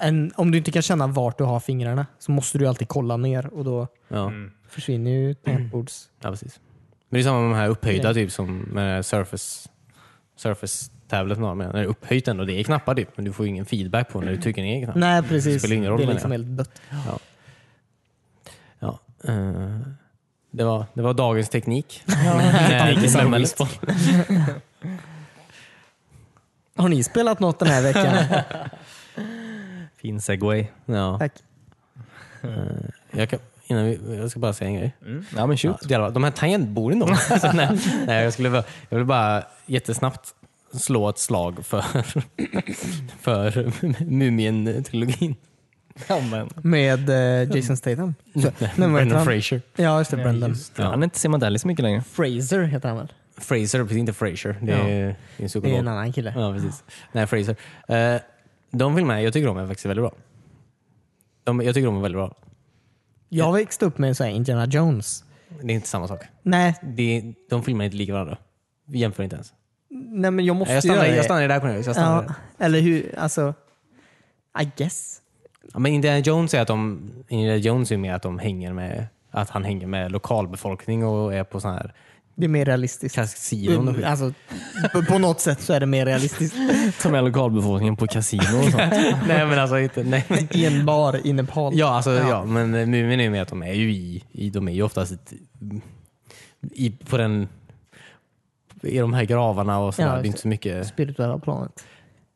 S1: En, om du inte kan känna vart du har fingrarna så måste du ju alltid kolla ner och då
S2: Ja.
S1: försvinner ju
S2: Mm.
S1: tangentbords...
S2: Ja, precis. Men det är samma med de här upphöjda, typ som med Surface, Surface Tablet. När det är upphöjt ändå, det är knappar typ, men du får ju ingen feedback på när du trycker ner knappen.
S1: Nej precis, liksom
S2: spelar ingen roll,
S1: det är
S2: menar
S1: liksom
S2: jag.
S1: helt dött.
S2: Ja. Eh, Det var, det var dagens teknik.
S3: Teknik i samhället.
S1: Har ni spelat något den här veckan?
S3: Fin segway.
S2: Ja.
S1: Tack.
S2: Jag, kan, innan vi, jag ska bara säga en grej.
S3: Ja, men shoot.
S2: Ja, det är alla- de här tangentborden då. Så nej, nej, jag, skulle, bara- jag vill bara jättesnabbt slå ett slag för, för Mumien-trilogin.
S3: Ja, men.
S1: Med eh, Jason Statham? Så, men vad heter
S2: Brendan
S1: han?
S2: Fraser.
S1: Ja, just det. Brendan.
S2: Ja.
S3: Han är inte Simon Daly så mycket längre.
S1: Fraser heter han väl?
S2: Fraser, precis inte Fraser. Det
S1: Ja.
S2: är, det är en
S1: Det är
S2: psykolog.
S1: en annan kille.
S2: Ja, precis. Nej, Fraser. Eh, de filmerna jag tycker om är faktiskt väldigt bra. De, jag tycker de är väldigt bra.
S1: Jag växte upp med en sån här Indiana Jones.
S2: Det är inte samma sak.
S1: Nej,
S2: Det, de filmerna är inte lika varandra. Vi jämför inte ens.
S1: nej men jag måste
S2: Jag stannar,
S1: göra det.
S2: jag stannar där på nu. Jag stannar
S1: ja, eller hur? Alltså, I guess.
S2: Ja, men Indiana Jones är att de, Indiana Jones är mer att de hänger med att han hänger med lokalbefolkning och är på sån här
S1: Det är mer realistiskt.
S2: kasinon och
S1: Mm,
S2: skit.
S1: Alltså, på- på något sätt så är det mer realistiskt.
S3: Ta med lokalbefolkningen på kasino och sånt.
S2: Nej men alltså inte, nej. men-
S1: I en bar i Nepal.
S2: Ja, alltså, ja. men eh, Mumin är ju mer att de är ju i, i de är ju oftast i, i, på den i de här gravarna och sådär.
S1: Ja,
S2: det är
S1: just
S2: inte så mycket.
S1: Spirituella planet.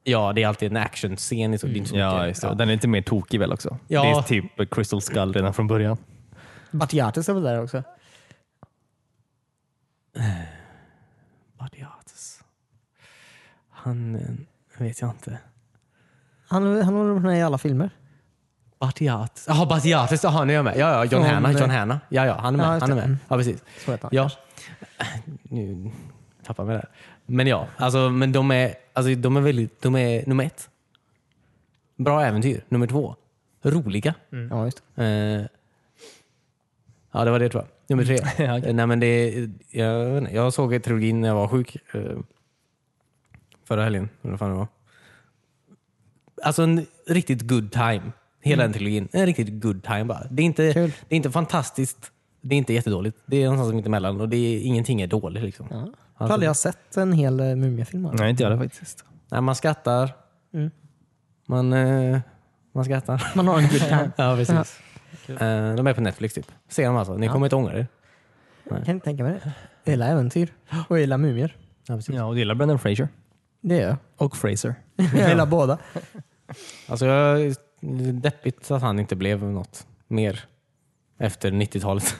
S2: Ja, det är alltid en actionscen. liksom. Det är inte så
S3: Mm. Ja,
S2: mycket.
S3: just det. Den är lite mer tokig väl också?
S2: Ja.
S3: Det är typ Crystal Skull redan från början.
S1: Batiates är väl där också?
S2: Badiatus. Han eh, vet jag inte.
S1: Han, han har varit med i alla filmer.
S2: Batiatus. Jaha, Batiatus. Jaha, nu är jag med. Ja, ja, John
S1: Från-
S2: Hanna. John Hanna. Ja, ja, han är med.
S1: Ja, just
S2: han är
S1: det.
S2: med. Ja, precis.
S1: Så heter han.
S2: Ja. Äh, Nu tappar jag mig där. Men ja, alltså, men de är, alltså, de är väldigt, de är nummer ett. Bra äventyr. Nummer två. Roliga.
S1: Mm. Ja, just det.
S2: Eh, ja, det var det tror jag. Nummer tre. Eh, Nej, men det, jag, vet inte, jag såg trilogin när jag var sjuk. Eh, förra helgen, eller vad fan det var. Alltså en riktigt good time. Hela den trilogin. En riktigt good time bara. Det är, inte,
S1: Kul.
S2: det är inte fantastiskt. Det är inte jättedåligt. Det är någonstans mitt emellan och det är, ingenting är dåligt. Liksom.
S1: Ja. Jag har
S2: Alltså,
S1: aldrig sett en hel eh, mumiefilm. alltså.
S3: Nej, inte jag det faktiskt.
S2: nej, man skrattar.
S1: Mm.
S2: Man, eh, man skrattar.
S1: Man har en good time.
S2: Ja, precis. Eh, de är på Netflix typ. Se dem alltså. Ni kommer inte ångra er.
S1: Jag kan inte tänka mig det. Jag gillar äventyr och jag gillar mumier.
S2: Ja, precis.
S3: Typ. Ja, och du gillar Brendan Fraser.
S1: Det gör jag.
S3: Och Fraser.
S1: Jag gillar båda.
S2: Alltså, jag är deppigt att han inte blev något mer efter 90-talet.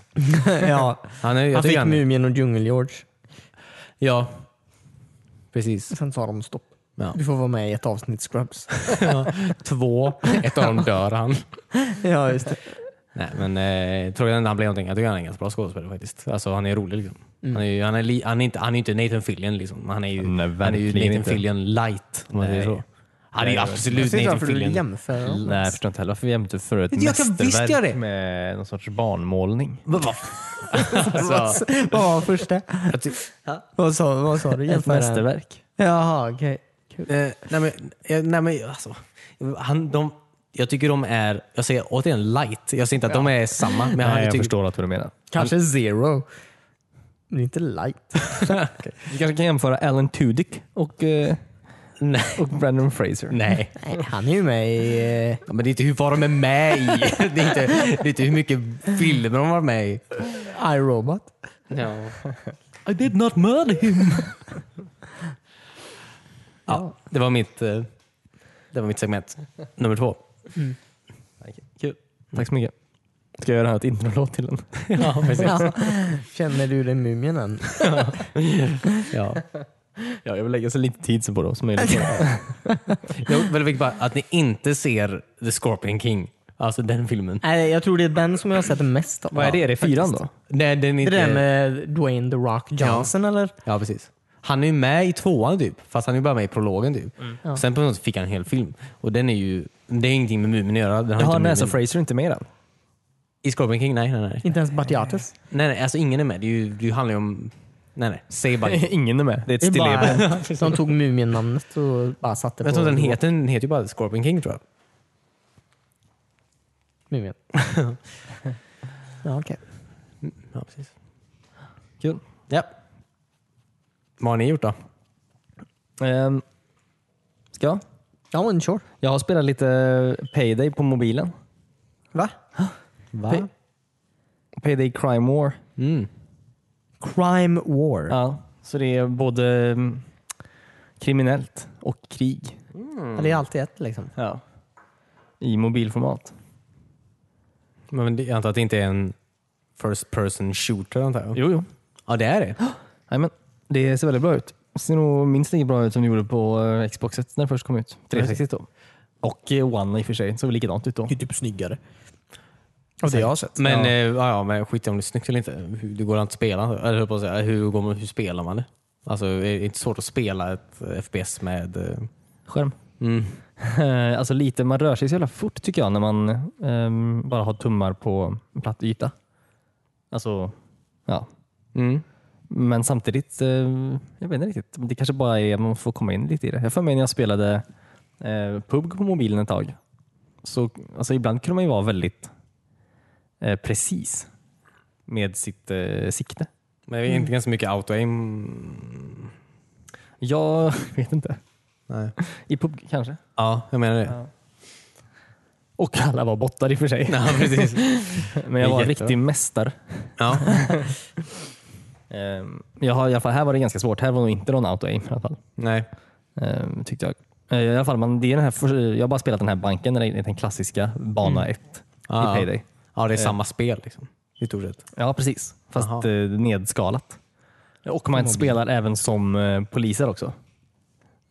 S1: ja. Alltså,
S2: Han, är, jag
S1: Han
S2: tycker
S1: fick Mumien och Djungel-George.
S2: Ja, precis.
S1: Sen sa de stopp.
S2: Ja.
S1: Du får vara med i ett avsnitt Scrubs.
S2: Två. Ett av dem dör han.
S1: ja, just det.
S2: Nej, men eh, tror jag inte han blev någonting. Jag tycker han är en ganska bra skådespelare faktiskt. Alltså, han är rolig liksom. Han är ju han är, li, han är inte, han är inte Nathan Fillion liksom. Han är ju,
S3: Nej,
S2: han är ju
S3: verkligen
S2: Nathan
S3: inte.
S2: Fillion light. Om man säger
S3: Nej.
S2: så. Han är ju absolut
S1: Precis
S2: Nathan
S1: varför du
S2: Fillion.
S1: jämför dem.
S3: Nej, jag förstår inte heller varför vi jämte för ett
S2: Jag kan- visst
S3: mästerverk
S2: gör det.
S3: med någon sorts barnmålning.
S2: Vad- vad- alltså,
S1: Vad var första?
S2: jag ty-
S1: Vad sa, vad sa du?
S3: Ett
S1: Jämför den.
S3: mästerverk.
S1: Jaha, okej.
S2: Eh, nej men, eh, nej, men alltså, han, de, jag tycker de är, jag säger återigen light. Jag säger inte att de är samma. Men
S3: Nej, jag
S2: tycker,
S3: förstår att vad du menar.
S1: Kanske zero. Men inte light.
S3: Vi kanske kan jämföra Alan Tudyk och, eh,
S2: Nej.
S3: och Brendan Fraser.
S2: nej.
S1: Nej, han är ju med i... eh,
S2: Ja, men det är inte hur, vad de är med i. Det är inte, det är inte hur mycket filmer de har varit med i.
S1: eh, iRobot.
S2: I did not murder him. ja, det var mitt, eh, det var mitt segment. Nummer två.
S3: Kul. Tack så mycket. Ska jag göra ett introlåt till den?
S2: Ja, precis.
S1: Ja. Känner du dig Mumien än?
S2: Ja.
S3: Ja, jag vill lägga så lite tid på det som möjligt.
S2: Jag vill vilket bara att ni inte ser The Scorpion King. Alltså den filmen.
S1: Nej, jag tror det är den som jag har sett mest av.
S3: Vad är det? Är det fyran då?
S2: Nej, den är
S1: Det
S2: inte...
S1: är den med Dwayne The Rock Johnson eller?
S2: Ja, precis. Han är ju med i tvåan typ, fast han är ju bara med i prologen typ.
S3: Mm.
S2: Och sen på något sätt fick han en hel film. Och den är ju, det är ingenting med Mumin att göra. Den har
S3: Jaha,
S2: inte
S3: nej,
S2: Mumin-
S3: så Fraser är inte med i den?
S2: I Scorpion King? Nej, nej, nej.
S1: Inte ens Batiates.
S2: Nej, nej, alltså ingen är med. Det, är ju, det handlar ju om... Nej, nej. Säg bara inte.
S3: Ingen är med. Det är ett
S1: Det är
S3: stilleben.
S1: bara, de tog Mumien-namnet och bara satte
S2: Jag
S1: på
S2: tror den heter, den heter ju bara Scorpion King tror jag.
S1: Mumien. ja, okej.
S2: Ja, precis.
S3: Kul.
S2: Ja. Vad har ni gjort då?
S3: Ehm, ska jag?
S1: Ja, men sure.
S3: Jag har spelat lite Payday på mobilen.
S1: Va?
S2: Va?
S3: Payday Crime War.
S2: Mm.
S1: Crime War. Ja.
S3: Ja, så det är både mm, kriminellt och krig
S1: Det är alltid ett liksom.
S3: ja. i mobilformat.
S2: Men det- jag antar att det inte är en first person shooter antar jag?
S3: Jo, jo.
S2: Ja, det är det.
S3: Jajamän. det ser väldigt bra ut. Det ser nog minst lika bra ut som det gjorde på eh, Xboxet när det först kom ut. 360 då. Och eh, One i och för sig, såg väl likadant ut då.
S1: Det är typ snyggare. Av det jag har sett.
S2: Men, eh, ja. Ja, ja, men skit i om det är snyggt eller inte. Hur- Det går inte att spela. Eller jag höll på att säga, hur, går man, hur spelar man det? Alltså, är det inte svårt att spela ett eh, FPS med... eh,
S3: Skärm.
S2: Mm.
S3: alltså lite, man rör sig så jävla fort tycker jag när man ehm, bara har tummar på en platt yta. Alltså, ja.
S2: Mm.
S3: Men samtidigt, eh, jag vet inte riktigt. Det kanske bara är att man får komma in lite i det. Jag får mig när jag spelade eh, PUBG på mobilen ett tag. Så, alltså ibland kunde man ju vara väldigt eh, precis med sitt eh, sikte.
S2: Men det är inte ganska mycket auto-aim?
S3: Jag vet inte.
S2: Nej.
S3: I PUBG kanske.
S2: Ja, jag menar det.
S3: Och alla var bottar i och för sig.
S2: Ja, precis.
S3: Men jag var en
S2: Jättebra.
S3: riktig mästare.
S2: Ja.
S3: Ehm, Jag har, i alla fall, här var det ganska svårt. Här var nog inte någon auto-aim i alla fall.
S2: Nej.
S3: Ehm, Tyckte jag. Eh, I alla fall, man, det är den här, för- jag har bara spelat den här banken, den, den klassiska bana 1
S2: Ja,
S3: i Payday.
S2: Ja, det är samma spel liksom. I stort sett.
S3: Ja, precis. Fast
S2: Aha.
S3: eh, nedskalat. Och man spelar även som eh, poliser också.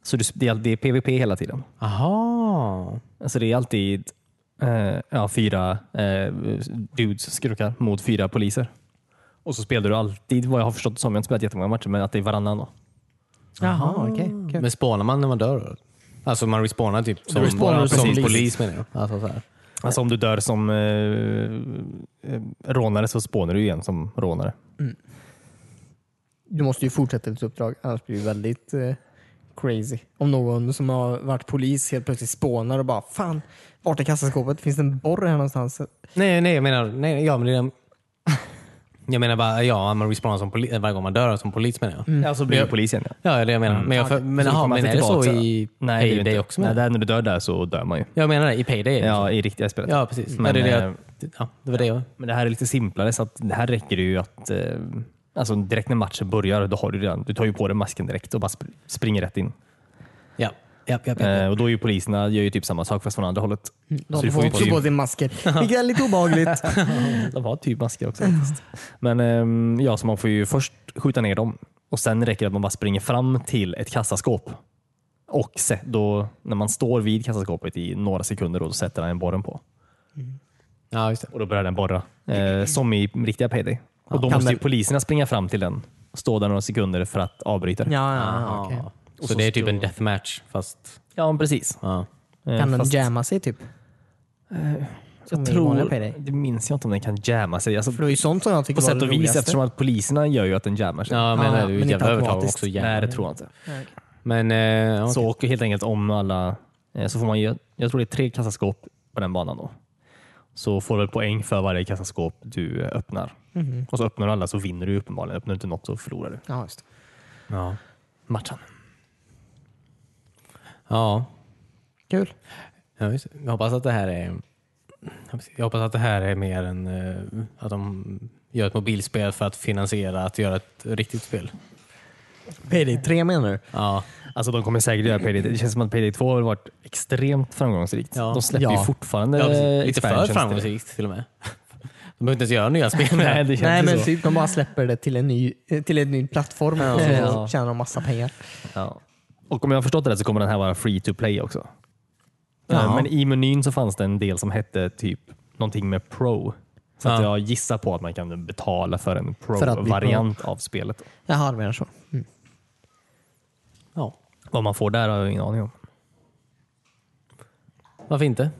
S3: Så du, det, är, det är PVP hela tiden.
S2: Aha.
S3: Alltså det är alltid eh, ja, fyra eh, dudes, skurkar, mot fyra poliser. Och så spelar du alltid, vad jag har förstått som, jag har inte spelat jättemånga matcher, men att det är varannan då.
S1: Jaha, okej. kul.
S2: Men spånar man när man dör? då? Alltså man respawnar typ som,
S1: respawnar
S2: som
S1: precis.
S2: polis. menar jag. Alltså, så här.
S3: Alltså om du dör som eh, eh, rånare så spånar du igen som rånare.
S1: Du måste ju fortsätta ditt uppdrag, annars blir det väldigt eh, crazy. Om någon som har varit polis helt plötsligt spånar och bara Fan, vart är kassaskåpet? Finns det en borr här någonstans?
S2: Nej, nej, jag menar, nej, ja, men det är, jag menar bara, ja, man respawnar som polis, varje gång man dör som polis menar jag.
S3: Ja, så blir du polis igen. Ja.
S2: Mm. Ja, det är det jag menar. Men, jag, för, men,
S3: Så
S2: aha,
S3: kommer
S2: men
S3: man
S2: är det så
S3: tillbaka.
S2: i
S3: Nej, det är det
S2: Payday
S3: inte.
S2: också?
S3: Nej,
S2: menar
S3: där, när du dör där så dör man ju.
S2: jag? Jag menar det, i Payday. Ja,
S3: Ja, i riktiga spelet.
S2: ja precis.
S3: Men,
S2: ja, det, är det,
S3: eh,
S2: jag- ja, det var det jag...
S3: Men det här är lite simplare så att det här räcker det ju att eh, alltså direkt när matchen börjar, då har du redan, du tar ju på dig masken direkt och bara sp- springer rätt in.
S2: Ja, ja, ja, Mm. ja.
S3: Eh, och då är ju poliserna gör ju typ samma sak fast från andra hållet. Så
S1: De
S3: du
S1: får
S3: ju
S1: också
S3: typ-
S1: på sig masker, vilket är lite obehagligt.
S3: De har typ masker också. faktiskt. Men ehm, ja, så man får ju först skjuta ner dem och sen räcker det att man bara springer fram till ett kassaskåp. Och se, då, när man står vid kassaskåpet i några sekunder då, sätter han borren på.
S2: ja, just det.
S3: Och då börjar den borra. Eh, som i riktiga Payday. Och då
S1: kan
S3: måste ju
S1: väl-
S3: poliserna springa fram till den och stå där några sekunder för att avbryta det.
S1: Ja,
S2: Ja,
S1: ja, Ah, okej.
S2: Så, det är typ en deathmatch fast...
S3: Ja, men precis.
S2: Ja.
S3: Eh,
S1: Kan den
S3: fast Eh,
S1: jamma sig typ? Som
S3: jag
S1: i vanliga
S3: tror,
S1: Payday?
S3: det minns jag inte om den kan jamma sig. Alltså,
S1: För det var ju sånt som jag tycker
S3: på
S1: var
S3: sätt
S1: det
S3: och vis
S1: roligaste.
S3: eftersom att poliserna gör ju att den jammar sig.
S2: Ja, men
S1: ja,
S2: det är ju
S1: men
S2: ett
S1: inte
S2: jävla övertag
S1: automatiskt.
S2: också.
S3: Nej,
S2: Jävlar.
S3: det tror jag inte.
S2: Men eh, okej.
S3: Så och helt enkelt om alla, eh, så får man ju, jag tror det är tre kassaskåp på den banan då. Så får du väl poäng för varje kassaskåp du eh, öppnar.
S2: Mhm.
S3: Och så öppnar du alla så vinner du uppenbarligen. Öppnar du inte något så förlorar du
S1: Ja, just. det.
S2: ja.
S3: matchen.
S2: Ja.
S1: Kul.
S2: Ja, just det. Jag hoppas att det här är jag hoppas att det här är mer än eh, att de gör ett mobilspel för att finansiera att göra ett riktigt spel.
S1: Payday 3 menar du?
S2: Ja,
S3: Alltså de kommer säkert göra Payday. Det känns som att Payday 2 har varit extremt framgångsrikt.
S2: Ja.
S3: De släpper
S1: Ja.
S3: ju fortfarande
S2: ja precis.
S3: eh,
S2: lite för
S3: expansions till det.
S2: framgångsrikt till och med. De behöver inte ens göra nya spel.
S3: Nej, det känns
S1: Nej,
S3: ju
S1: men
S3: så.
S1: typ de bara släpper det till en ny, eh, till en ny plattform och så
S3: Ja.
S1: tjänar de massa pengar.
S3: Ja. Och om jag har förstått det rätt så kommer den här vara free to play också.
S1: Ja.
S3: Eh, Men i menyn så fanns det en del som hette typ någonting med pro. Så att
S2: Ja.
S3: jag gissar på att man kan betala för en
S1: För att bli pro.
S3: pro-variant av spelet.
S1: Jaha, du menar så. Mm.
S2: Ja.
S3: Vad man får där har jag ingen aning om.
S2: Varför inte?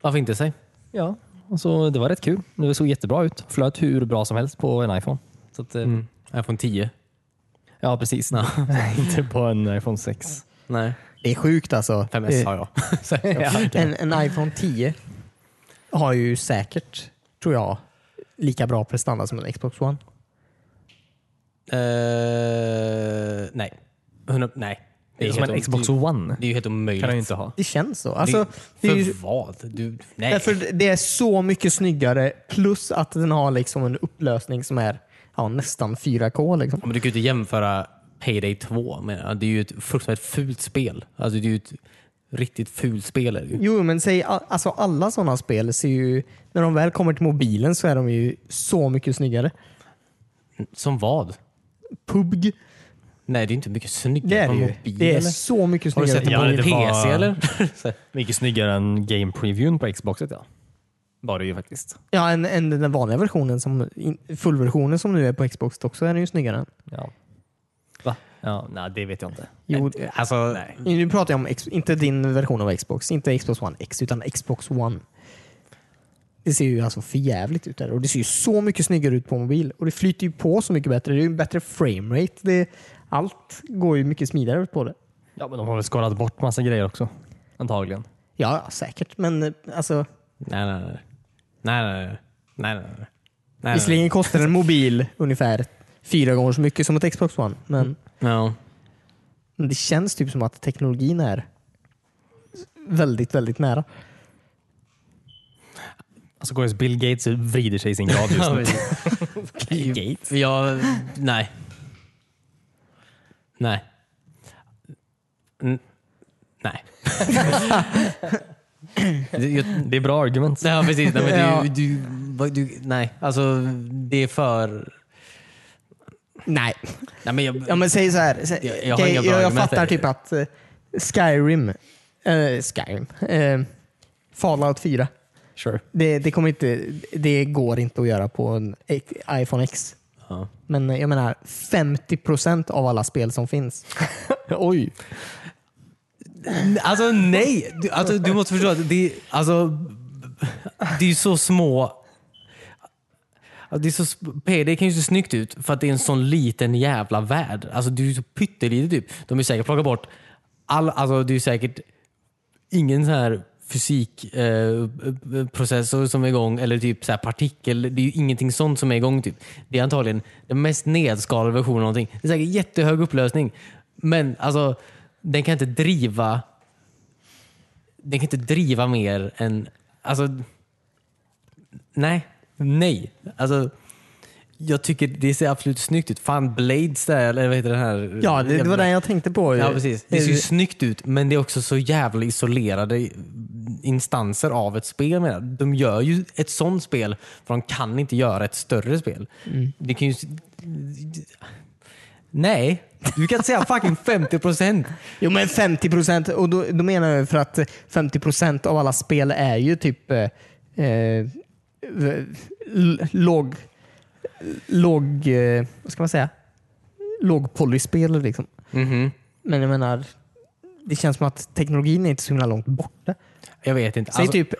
S2: Varför inte sig?
S3: Ja, och så det var rätt kul. Det såg jättebra ut. Flöt hur bra som helst på en iPhone. Så att, eh,
S2: iPhone 10?
S3: Ja, precis. Inte på en iPhone 6.
S2: Nej.
S1: Det är sjukt alltså.
S2: 5S har
S1: Eh,
S2: jag. Så jag.
S1: en, en iPhone 10 har ju säkert, tror jag, lika bra prestanda som en Xbox One.
S2: Eh, nej. 100, nej.
S3: Det är
S2: helt
S3: som en
S2: om-
S3: Xbox
S2: det är ju-
S3: One.
S2: Det är ju helt omöjligt.
S3: kan han ju inte ha.
S1: Det känns så. Alltså, det
S2: det,
S1: är ju,
S2: för vad? Du, nej.
S1: därför det är så mycket snyggare plus att den har liksom en upplösning som är ja, nästan 4K. Liksom.
S2: Ja, Men du kan ju inte jämföra Payday 2 med det. Det är ju ett fruktansvärt fult spel. Alltså det är ju ett riktigt fult spel. Är det ju.
S1: Jo, men säg, a- alltså alla sådana spel ser ju, när de väl kommer till mobilen så är de ju så mycket snyggare.
S2: Som vad?
S1: PUBG,
S2: Nej, det är inte mycket snyggare
S1: det är
S2: på
S1: det ju.
S2: mobil.
S1: Det är
S2: eller?
S1: så mycket
S2: Har du
S1: snyggare.
S2: sett det
S3: Ja,
S2: på
S3: det
S2: PC
S3: var-
S2: eller?
S3: Mycket snyggare än game previewn på Xboxet ja. Var det ju faktiskt.
S1: Ja, en, en, den vanliga versionen, som, in- fullversionen som nu är på Xbox också, är den ju snyggare.
S3: Ja. Va? Ja, nej, det vet jag inte.
S1: Jo,
S2: Alltså,
S1: nu pratar jag om, X, inte din version av Xbox, inte Xbox One X, utan Xbox One. Det ser ju alltså för jävligt ut där och det ser ju så mycket snyggare ut på mobil och det flyter ju på så mycket bättre. Det är ju en bättre framerate. Det, allt går ju mycket smidigare på det.
S3: Ja, men de har väl skalat bort massa grejer också. Antagligen.
S1: Ja, ja, säkert. Men eh, alltså,
S2: nej, nej, nej. Nej, nej, nej. nej, nej, nej. nej, nej.
S1: visserligen kostar en mobil ungefär fyra gånger så mycket som ett Xbox One. Men,
S2: Ja.
S1: men det känns typ som att teknologin är väldigt, väldigt nära.
S3: Alltså går just Bill Gates och vrider sig i sin grav just nu.
S2: Gates? Ja, nej. Nej. N- nej. Det- jag-
S3: det är bra argument.
S2: Ja precis. Nej,
S1: Ja.
S2: men du, du, vad- du, nej, alltså det är för...
S1: Nej,
S2: Nej, men jag,
S1: Ja men säg så här. Säg,
S2: Jag-
S1: jag,
S2: jag har
S1: jag,
S2: inga
S1: jag,
S2: bra argument
S1: fattar
S2: här.
S1: typ att eh, Skyrim, eh, Skyrim, eh, Fallout 4.
S3: Sure.
S1: Det, det, kommer inte, det går inte att göra på en X- iPhone X.
S2: Ja.
S1: Men eh, jag menar 50% av alla spel som finns.
S3: Oj.
S2: Alltså nej! Du, alltså, du måste förstå att det, alltså, det är ju så små... Alltså, det är så, sp- PD kan ju se snyggt ut för att det är en sån liten jävla värld. Alltså det är ju så pyttelitet typ. De har ju säkert plockat bort all, alltså det är ju säkert ingen så här fysikprocessor eh, processor som är igång eller typ så här partikel. Det är ju ingenting sånt som är igång. Typ. Det är antagligen den mest nedskalade versionen av någonting. Det är säkert jättehög upplösning. Men alltså, den kan inte driva den kan inte driva mer än... Alltså, nej. Nej. Alltså, jag tycker det ser absolut snyggt ut. Fan, Blades där, eller vad heter den här?
S1: Ja, det, det var den jag tänkte på.
S2: Ja, precis. Eh, Det
S1: Eh,
S2: ser ju snyggt ut, men det är också så jävla isolerade instanser av ett spel. Med. De gör ju ett sånt spel, för de kan inte göra ett större spel. Det kan ju... s- Nej, du kan inte säga fucking 50 procent.
S1: Jo men 50% och då, då menar jag för att 50% av alla spel är ju typ eh, eh, l- låg, låg, eh, vad ska man säga? Lågpolyspel liksom. Men jag menar, det känns som att teknologin är inte så himla långt borta.
S2: Jag vet inte.
S1: Säg
S2: Alltså-
S1: typ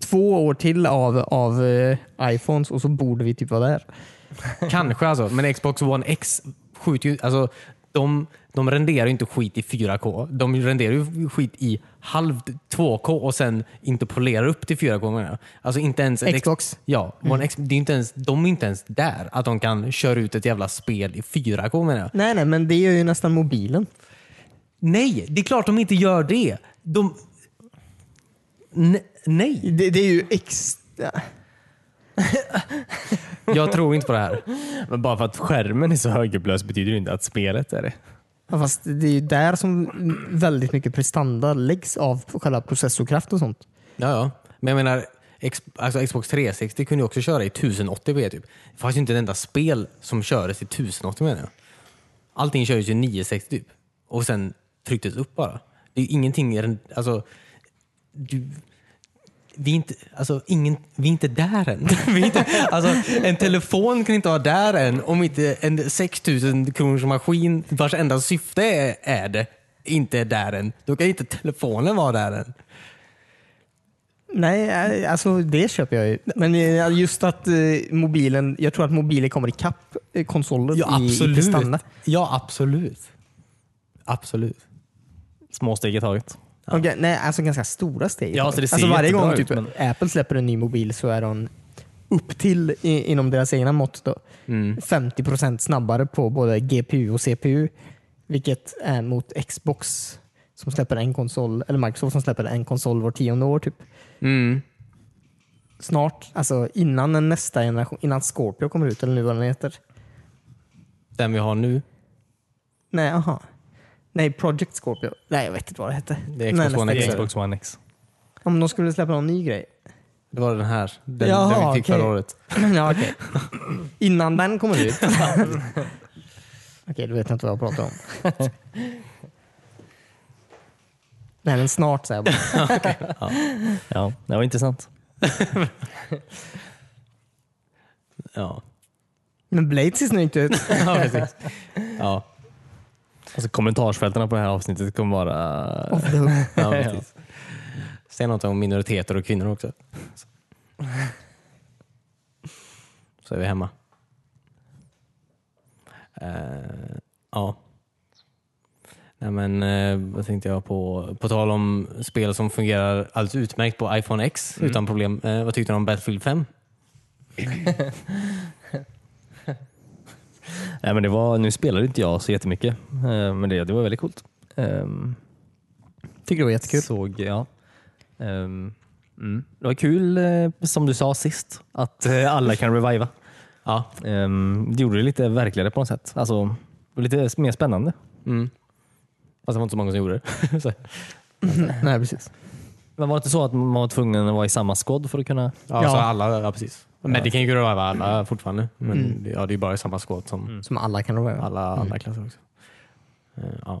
S1: två år till av, av eh, iPhones och så borde vi typ vara där.
S2: Kanske alltså, men Xbox One X skjuter ju... Alltså, de, de renderar ju inte skit i 4K. De renderar ju skit i halv 2K och sen inte polerar upp till 4K menar jag. Alltså inte ens... ett ex-
S1: Xbox.
S2: Ja,
S3: Mm.
S2: One X, det är inte ens, de är inte ens där. Att de kan köra ut ett jävla spel i 4K menar jag.
S1: Nej, nej, men det gör ju nästan mobilen.
S2: Nej, det är klart de inte gör det. De... Ne- nej,
S1: Det, det är ju extra...
S2: jag tror inte på det här.
S3: Men bara för att skärmen är så högupplöst betyder det inte att spelet är det.
S1: Ja, fast det är ju där som väldigt mycket prestanda läggs av själva processorkraft och sånt.
S2: Ja, ja. Men jag menar, ex, alltså Xbox 360 kunde ju också köra i 1080p typ. Det fanns ju inte ett enda spel som kördes i 1080 menar jag. Allting kördes ju 960 typ. Och sen trycktes upp bara. Det är ju ingenting, ren- alltså, du, vi, är inte, alltså ingen, vi är inte där än. Vi är inte, alltså, en telefon kan inte vara där än om inte en 6000 kronors maskin vars enda syfte är, är det inte är där än. Då kan inte telefonen vara där än.
S1: Nej, eh, alltså det köper jag ju. Men eh, just att eh, mobilen, jag tror att mobilen kommer ikapp eh, konsoler
S2: Ja,
S1: i, i
S2: absolut.
S1: prestanda.
S2: Ja, absolut. Absolut.
S3: Små steg i taget.
S1: Okej, nej, alltså ganska stora steg.
S3: Ja, så det ser
S1: alltså varje
S3: jättebra
S1: gång
S3: ut,
S1: typ,
S3: men-
S1: Apple släpper en ny mobil så är de upp till i,
S3: Mm.
S1: inom deras egna mått då, 50% snabbare på både GPU och CPU Vilket är mot Xbox som släpper en konsol, eller Microsoft som släpper en konsol var tionde år typ.
S2: Mm.
S1: Snart, alltså innan den nästa generation, innan Scorpio kommer ut eller nu vad den heter.
S2: Den vi har nu.
S1: Nej, aha. Nej, Project Scorpio. Nej, jag vet inte vad det hette.
S2: Det är Xbox
S1: Nej, nästa
S2: One X.
S1: grej.
S3: Xbox One X.
S1: Om de skulle släppa någon ny grej.
S2: Det var den här. Den,
S1: Jaha,
S2: den vi fick
S1: okej.
S2: förra året.
S1: ja, okej. Innan den kommer ut. okej, då vet jag inte vad jag pratar om. Nej, men snart säger jag bara.
S3: Ja, det var intressant.
S2: Ja.
S1: Men Blade ser snyggt ut.
S2: ja, precis. Ja.
S3: Alltså, kommentarsfältena på det här avsnittet kommer vara...
S1: Off the hook.
S2: Ja, precis. Säg något om minoriteter och kvinnor också. Så- Så är vi hemma. Eh, ja. Nej, men, eh, vad tänkte jag på? På tal om spel som fungerar alldeles utmärkt på iPhone X utan problem. Eh, vad tyckte du om Battlefield 5?
S3: Nej, men det var, nu spelade inte jag så jättemycket, eh, men det, det var väldigt coolt. Ehm,
S1: Tycker det var jättekul.
S3: Såg, ja. Ehm, mm. Det var kul, eh, som du sa sist, att eh, alla kan reviva.
S2: Ja.
S3: Ehm, det gjorde det lite verkligare på något sätt. Alltså, det var lite mer spännande.
S2: Mm. Fast det var inte så många som gjorde det. Så-
S1: Nej, precis.
S3: Men var det inte så att man var tvungen att vara i samma skåd för att kunna...
S2: ja,
S1: Ja.
S2: Så alla, ja, Mm. precis. Men det kan ju gå över alla fortfarande. Men det, ja, det är bara samma skåd som
S1: Som alla kan vara.
S2: alla, alla klasser också. Mm. Eh, ja.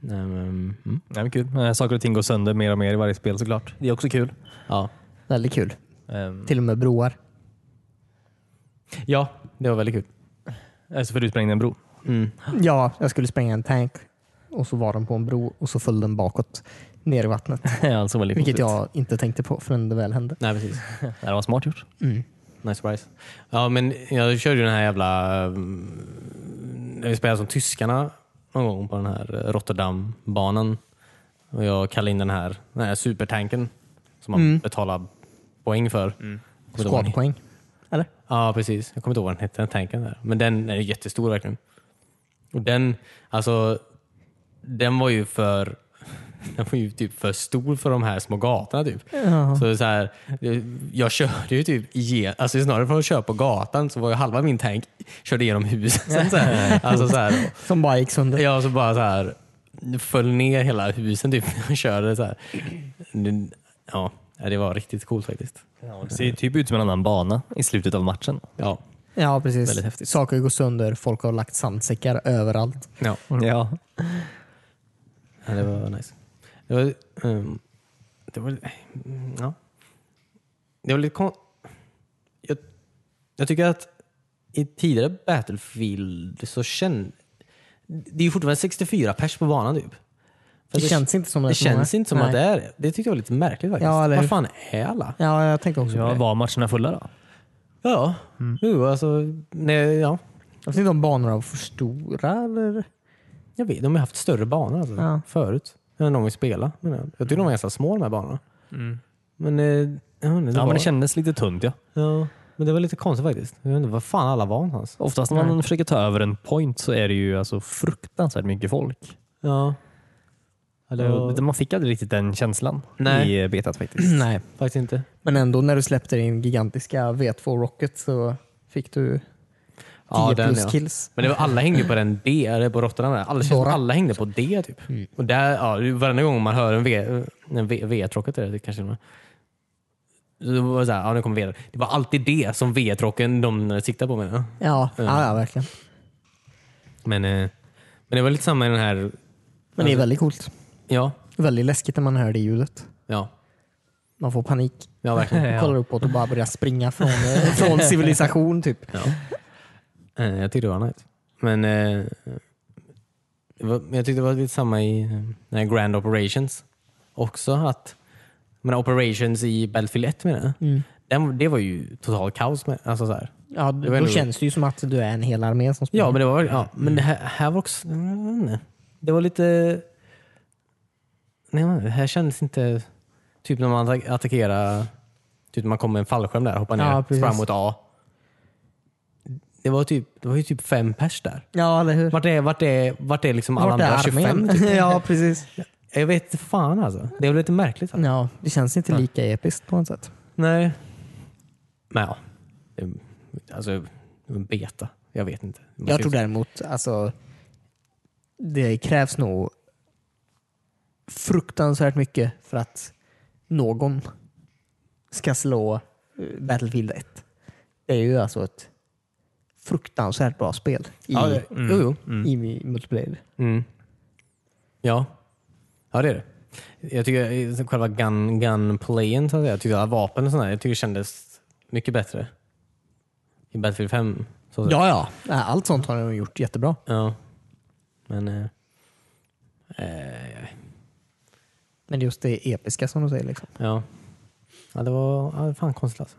S2: Nej, men, mm.
S3: Nej, men kul. Eh, Saker och ting går sönder mer och mer i varje spel såklart. Det är också kul.
S2: ja.
S1: Väldigt kul.
S3: Ehm,
S1: Till och med broar.
S2: ja, det var väldigt kul.
S3: alltså för du sprängde en bro.
S2: Mm.
S1: Ja, jag skulle spränga en tank och så var den på en bro och så föll den bakåt ner i vattnet.
S3: alltså väldigt
S1: Vilket
S3: konstigt.
S1: jag inte tänkte på förrän det väl hände.
S2: Nej, precis.
S3: Nej, Det var smart gjort.
S2: Nice surprise. Ja, men jag körde ju den här jävla... mm, När vi spelade som tyskarna någon gång på den här Rotterdam-banan. Och jag kallade in den här, den här supertanken som man betalar poäng för. Mm.
S1: Skadpoäng. Eller?
S2: Ja, precis. Jag kommer inte ihåg vad den hette, den tanken där. Men den är ju jättestor verkligen. Och den, alltså, den var ju för den var ju typ för stor för de här små gatorna. Typ. Så det är så här, det- jag körde ju typ igen, alltså snarare för att köra på gatan så var ju halva min tank körde igenom husen. Så här. Alltså så här,
S1: Som bara gick sönder.
S2: Ja, så bara så här föll ner hela husen typ och körde så här. Det- Ja, det var riktigt coolt faktiskt.
S3: Det ser typ ut som en annan bana i slutet av matchen.
S2: Ja.
S1: Ja, precis.
S3: Väldigt häftigt.
S1: Saker går sönder, folk har lagt sandsäckar överallt.
S2: ja.
S3: Ja.
S2: Ja, det var nice. Det var, ehm, det var, mm, ja. det var lite kon... jag, jag tycker att i tidigare Battlefield så kände... Det är ju fortfarande 64 pers på banan typ.
S1: Det,
S2: Fast
S1: känns inte som
S2: det
S1: är så många.
S2: känns inte som
S1: Nej.
S2: att det är det. Det tyckte jag var lite märkligt faktiskt.
S1: Ja, eller
S2: Var
S1: hur?
S2: fan är alla?
S1: Ja, jag tänker också på
S3: ja
S1: det.
S3: var matcherna fulla då?
S2: Ja, jo, alltså, nej, ja.
S1: Jag vet inte om banor var för stora eller?
S2: Jag vet, de har haft större banor alltså,
S1: Ja.
S2: förut. Än de vill spela. Men jag, jag tyckte de var ganska små de här banorna. Men, eh, jag vet inte,
S3: Ja,
S2: var-
S3: men det kändes lite tunt ja.
S2: Ja, men det var lite konstigt faktiskt. Jag vet inte var fan alla var någonstans.
S3: Oftast när man försöker ta över en point så är det ju alltså fruktansvärt mycket folk.
S2: Ja. Eller,
S3: Och Man fick aldrig riktigt den känslan
S2: Nej.
S3: i eh, betat faktiskt.
S2: Nej, faktiskt inte.
S1: Men ändå när du släppte din gigantiska V2 Rocket så fick du 10
S2: Ja, den,
S1: plus
S2: ja.
S1: kills.
S2: Men det var, alla hängde på den D, eller på Rotterdam. där. Alla, känns som
S1: Dora.
S2: alla hängde på D typ. Och där, ja, varenda gång man hör en V, en V, V-trocket är det kanske det var. Så det var så här, ja, nu kommer V. Det var alltid det som V-trocken de siktade på menar jag.
S1: Ja, ja, ja verkligen.
S2: Men, eh, men det var lite samma i den här,
S1: Men
S2: Alltså-
S1: det är väldigt coolt.
S2: ja,
S1: Väldigt läskigt när man hör det ljudet.
S2: ja,
S1: Man får panik.
S2: ja verkligen.
S1: Kollar uppåt och bara börjar springa från, eh, från civilisation typ.
S2: Eh, Jag tyckte det var nice. Men eh, det var, jag tyckte det var lite samma i eh, den här Grand Operations också. att men Operations i Battlefield 1 menar jag. Den, det var ju totalt kaos. Med, alltså så här.
S1: Ja,
S2: var
S1: då
S2: ändå-
S1: känns det ju som att du är en hel armé som springer.
S2: Ja, men det var ja, men det här, här var också... jag vet inte. Det var lite... Nej, jag vet inte, det här kändes inte... Typ när man attack- attackerar... Typ när man kommer med en fallskärm där, hoppar ner,
S1: Ja, precis.
S2: sprang mot A. Det var, typ, det var ju typ fem pers där.
S1: Ja, eller hur?
S2: Vart är, vart är, vart är liksom alla
S1: Vart är
S2: andra 25?
S1: armén?
S2: Typ?
S1: ja, precis.
S2: Jag vet inte fan alltså. Det är väl lite märkligt. Alltså.
S1: Ja, det känns inte lika episkt på något sätt.
S2: Nej. Men ja. Det- Alltså, beta. Jag vet inte. Man
S1: Jag
S2: kan
S1: tror
S2: ju-
S1: däremot, alltså, det krävs nog fruktansvärt mycket för att någon ska slå eh, Battlefield 1. Det är ju alltså ett fruktansvärt bra spel i,
S2: Ja, det- mm,
S1: jo, jo,
S2: mm.
S1: i multiplayer.
S2: Mm. Ja. Ja, det är det. Jag tycker eh, själva gun, gunplayen, så att säga, jag tycker alla vapen och sånt där, jag tycker det kändes mycket bättre. I Battlefield 5. Så att säga.
S1: Ja, ja. Nej, Allt sånt har de gjort jättebra.
S2: ja. Men... Eh, eh,
S1: Men just det episka som de säger. Liksom.
S2: Ja. ja det var ja, det var fan konstigt alltså.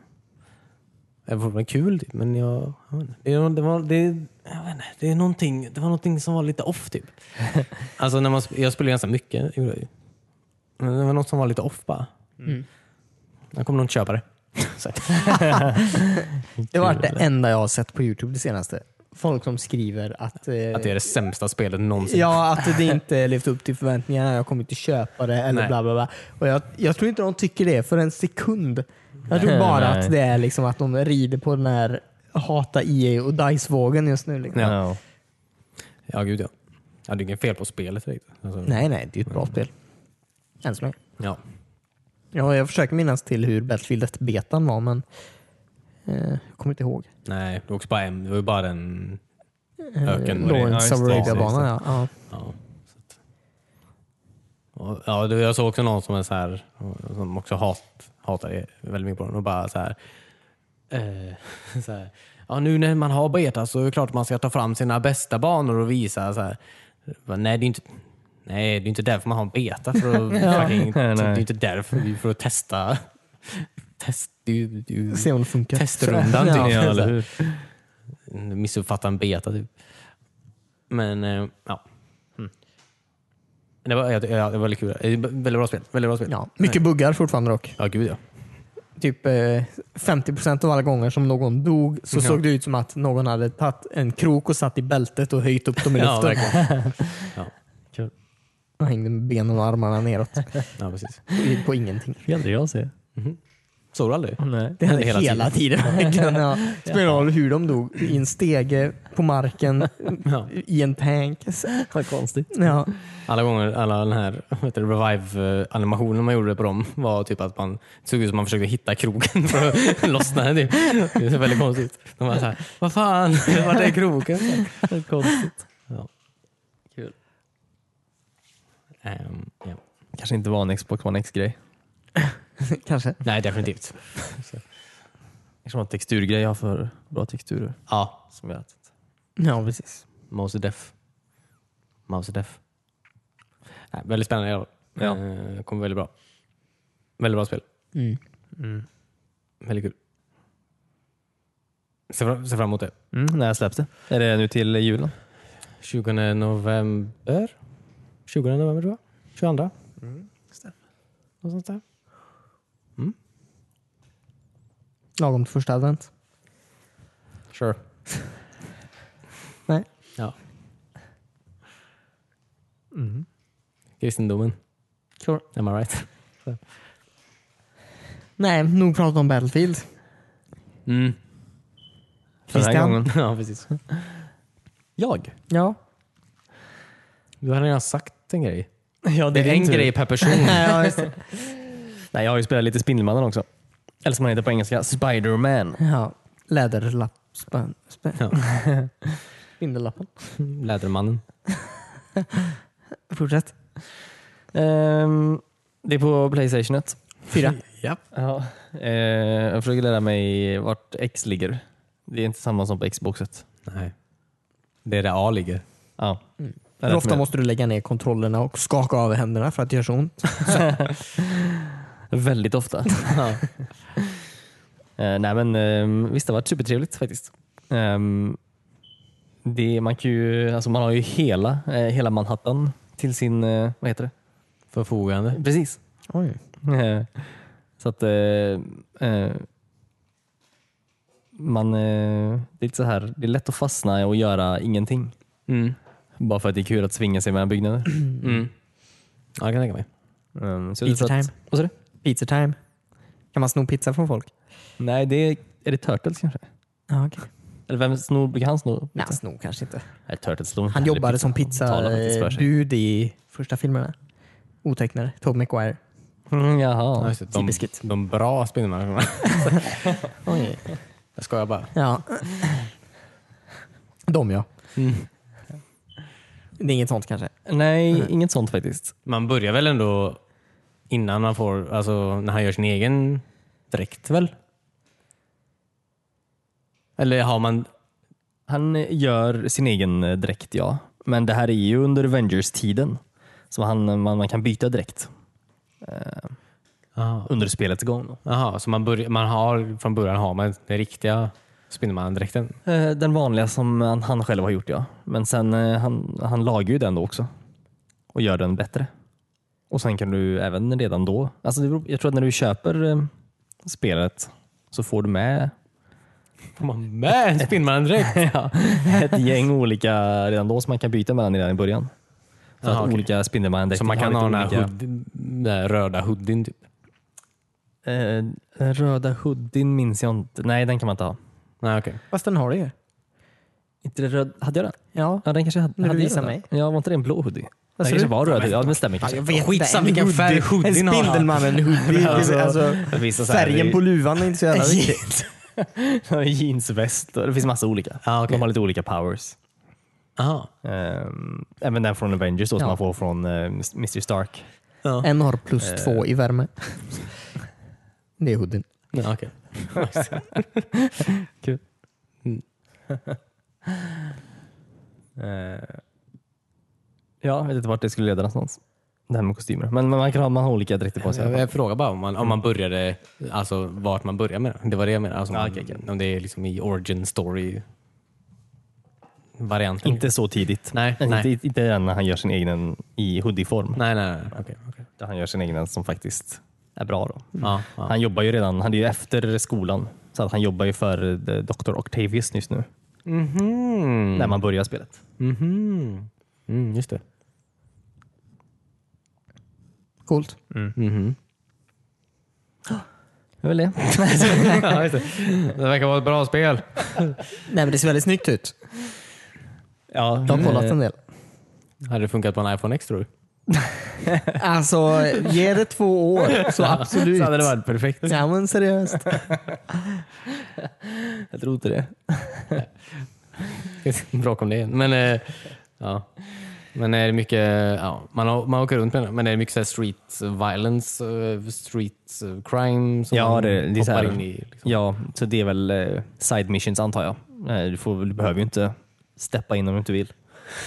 S2: Det var kul typ, men jag, jag vet inte. Det, var- det, var, det, jag vet inte, det, är någonting, det var någonting som var lite off typ. alltså när man, sp- jag spelade ganska mycket. gjorde jag ju. Men det var något som var lite off bara.
S1: Mm.
S2: Jag kommer någon köpa det. Så här.
S1: Det var det enda jag har sett på Youtube det senaste. Folk som skriver att, eh,
S2: Att det är det sämsta spelet någonsin.
S1: Ja, att det inte levt upp till förväntningarna. Jag kommer inte köpa det eller
S2: Nej.
S1: bla bla bla. Och jag, jag tror inte de tycker det för en sekund. Jag tror bara
S3: Nej.
S1: att det är liksom att de rider på den här hata EA och DICE-vågen just nu. Liksom.
S2: Ja.
S3: Ja.
S2: ja gud ja. Ja, det är inget fel på spelet riktigt. Alltså,
S1: Nej, nej, det är ju ett bra spel. Än så länge.
S2: Ja.
S1: Ja, jag försöker minnas till hur Battlefield 1-betan var, men eh, jag kommer inte ihåg.
S2: Nej, det var också bara en, det var ju bara den öken.
S1: Eh, Lawrence
S3: Ja,
S1: of
S3: just det,
S1: Arabia-banan, ja. ja.
S2: Ja, så att, Och, ja, det- jag såg också någon som, är så här, som också hat, hatar det väldigt mycket på den och bara så här, eh, så här ja, nu när man har beta så är det klart man ska ta fram sina bästa banor och visa så här. Bara, Nej, det är inte Nej, det är inte därför man har en beta. För att fucking,
S3: Nej,
S2: Det
S3: nej.
S2: är inte därför, det är för att testa. Test, det är ju- det är ju-
S1: Se om det funkar.
S2: Testrundan typ.
S3: Ja,
S2: Så
S3: eller
S2: här
S3: hur?
S2: missuppfatta en beta typ. Men eh, ja. Mm. Det, var, ja, det ja, det var väldigt kul. Eh, Väldigt bra spel. Väldigt bra spel.
S1: Ja, mycket buggar fortfarande dock.
S2: ja gud ja.
S1: typ eh, 50% av alla gånger som någon dog så såg det ut som att någon hade tagit en krok och satt i bältet och höjt upp dem i
S2: Ja,
S1: luften.
S2: verkligen. Ja,
S1: och hängde med benen och armarna neråt.
S2: ja, precis.
S1: Gick på ingenting.
S3: Det aldrig jag se.
S2: Såg du aldrig?
S3: Nej.
S1: Det hände
S2: Hela
S1: hela, tiden. verkligen, ja. Spelar ingen roll hur de dog. I en stege, på marken,
S2: Ja.
S1: i en tank.
S3: Vad konstigt.
S1: Ja,
S2: Alla gånger, alla den här vad heter det, revive-animationen man gjorde på dem var typ att man det såg ut som man försökte hitta kroken för att lossna den. Typ. Det är så väldigt konstigt. De var såhär, vad fan, vart är kroken?
S3: Vad konstigt.
S2: Ja. Kul. Ehm, ja.
S3: Kanske inte var en Xbox One X-grej.
S1: kanske.
S2: Nej, definitivt.
S3: Kanske var en texturgrej. Jag har för bra texturer.
S2: Ja,
S3: Som gör att...
S1: Ja, precis.
S2: Mouse Def. Mouse Def. Nej, väldigt spännande i alla fall.
S3: Ja.
S2: Eh, Kommer väldigt bra. Väldigt bra spel.
S1: Mm.
S2: Väldigt kul. Se fram, se fram emot det.
S3: Mm, när släpps det? Är det nu till julen?
S2: 20 november? 20 november tror jag. 22? Mm. Något sånt där.
S1: Lagom till första advent.
S2: Sure.
S1: Nej.
S2: Ja. Kristendomen.
S1: Sure.
S2: Am I right?
S1: Nej, nog pratat om Battlefield.
S2: Mm.
S3: För den här
S1: Christian?
S3: gången.
S2: ja, precis. Jag?
S1: Ja.
S2: Du har redan sagt en grej.
S3: Ja,
S2: Det är en grej per person.
S1: ja just det.
S3: Nej, jag har ju spelat lite Spindelmannen också. Eller som han heter på engelska, Spider-Man.
S1: Ja. Läderlapp. Spän, spän.
S2: Ja.
S1: Spindellappen.
S2: Lädermannen.
S1: Fortsätt.
S3: Ehm, det är på Playstation 1.
S1: Fyra.
S2: Ja.
S3: Ja. Eh, jag försöker lära mig vart X ligger. Det är inte samma som på Xboxet.
S2: Nej. Det är där A ligger.
S3: Ja. Jag
S1: Mm. Hur
S3: lärde
S1: ofta
S3: mig-
S1: måste du lägga ner kontrollerna och skaka av händerna för att det gör så ont?
S3: Väldigt ofta. Eh, nej men ehm, visst, det har varit supertrevligt faktiskt. Ehm, det, man, kan ju, alltså man har ju hela, eh, hela Manhattan till sin, eh, vad heter det?
S2: Förfogande.
S3: Precis.
S1: Oj.
S3: Eh, Så att eh, eh, man, eh, det, är lite så här, det är lätt att fastna och göra ingenting.
S2: Mm.
S3: Bara för att det är kul att svinga sig mellan byggnader.
S2: Mm. Ja, det kan jag tänka mig.
S3: Mm, så jag
S1: Pizza
S3: tror att-
S1: time.
S3: Vad sa du?
S1: Pizza time. Kan man sno pizza från folk?
S3: Nej, det är, är det Turtles kanske?
S1: Ja, okej.
S3: Eller vem snor, brukar han sno?
S1: Nej, sno kanske inte.
S3: Nej, Turtles slår inte
S1: Han
S3: heller
S1: jobbade som
S3: Han talar faktiskt för sig.
S1: pizzabud i första filmerna. Otecknade. Tob McGuire.
S3: Mm, jaha.
S2: Ja, just det. De,
S1: Typiskt.
S2: de bra Spindelmannen.
S1: Oj.
S2: jag skojar bara.
S1: Ja. Mm. De ja. Det är inget sånt kanske.
S3: Nej, inget sånt faktiskt.
S2: Man börjar väl ändå innan man får, alltså när han gör sin egen dräkt väl? Eller har man,
S3: Han eh, gör sin egen eh, dräkt, ja. Men det här är ju under Avengers-tiden. Så han, eh, man, man kan byta dräkt
S2: Aha.
S3: under spelets gång. då.
S2: Jaha, så man, börjar, man har, från början har man den riktiga Spindelmannen-dräkten?
S3: Eh, Den vanliga som han, han själv har gjort, ja. Men sen eh, han, han lagar ju den då också och gör den bättre. Och sen kan du även redan då, alltså det beror- jag tror att när du köper eh, spelet så får du med
S2: Får man med en Spindelmannen-dräkt?
S3: ja, ett gäng olika redan då som man kan byta mellan redan i början. För
S2: Jaha,
S3: att
S2: okej.
S3: olika Spindelmannen-dräkter
S2: Så man kan ha den
S3: lite
S2: här, hoodien, den här röda hoodien typ?
S3: Eh, den röda hoodien minns jag inte. Nej, den kan man inte ha.
S2: Nej, okej.
S1: Fast den har det ju.
S3: Inte den röd... Hade jag den?
S1: Ja.
S3: Ja, den kanske jag hade.
S1: När du
S3: hade jag
S1: visade
S3: den?
S1: mig.
S3: Ja, var inte det en blå hoodie? Den
S1: sa
S3: kanske
S1: du?
S3: var röd. Ja, det stämmer kanske.
S1: vet
S2: Alltså, Skitsamma vilken färg
S1: En
S2: hoodien har.
S1: Spindelmannen-hoodie.
S3: Alltså,
S1: alltså,
S3: Det finns så här-
S1: färgen på luvan är inte så jävla viktig.
S3: Jeansväst. och Det finns massa olika.
S2: Ja, Ah, okej.
S3: De har lite olika powers.
S2: Aha.
S3: Ehm, även den från Avengers då, som
S1: Ja.
S3: man får från eh, Mr Stark.
S2: Ja. Eh.
S1: En har plus två i värme. Det är hoodien.
S2: Ja, okej.
S3: Kul. Eh, ja, jag vet inte vart det skulle leda någonstans. Det här med kostymer. Men, men man kan ha, man har olika dräkter på sig. i alla
S2: Jag,
S3: fall.
S2: jag frågar bara om man, om man började, alltså vart man börjar med det. Det var det jag menade. Alltså, om
S3: Ja,
S2: man-
S3: okej, okej.
S2: Om det är liksom i origin story varianten.
S3: Inte så tidigt.
S2: Nej, nej.
S3: Inte, inte än när han gör sin egen i hoodieform.
S2: Nej, nej, nej. Okej, okej.
S3: Där han gör sin egen som faktiskt är bra. Då.
S2: Ja, ja.
S3: Han jobbar ju redan, han är ju efter skolan. Så att han jobbar ju för eh, Dr. Octavius just nu,
S2: Mhm.
S3: när man börjar spelet.
S2: Mhm. Mm, just det.
S1: Coolt.
S2: Mhm.
S3: Det är väl det.
S2: Ja, just det. det verkar vara ett bra spel.
S1: Nej men det ser väldigt snyggt ut.
S3: ja,
S1: Jag har kollat en del.
S2: Hade det funkat på en iPhone X tror du? Eh.
S1: Alltså, ge det två år så absolut.
S2: Så hade det varit perfekt.
S1: Ja men seriöst.
S3: Jag tror inte det.
S2: Bråk om det igen. Men, eh, ja. men är det mycket, ja, man, å- man åker runt med den. Men är det mycket så här street violence, eh, street crime som
S3: Ja,
S2: man
S3: det, det är så
S2: hoppar
S3: här,
S2: in i? Liksom.
S3: ja, så det är väl eh, side missions antar jag. Eh, Du, får, du behöver ju inte steppa in om du inte vill.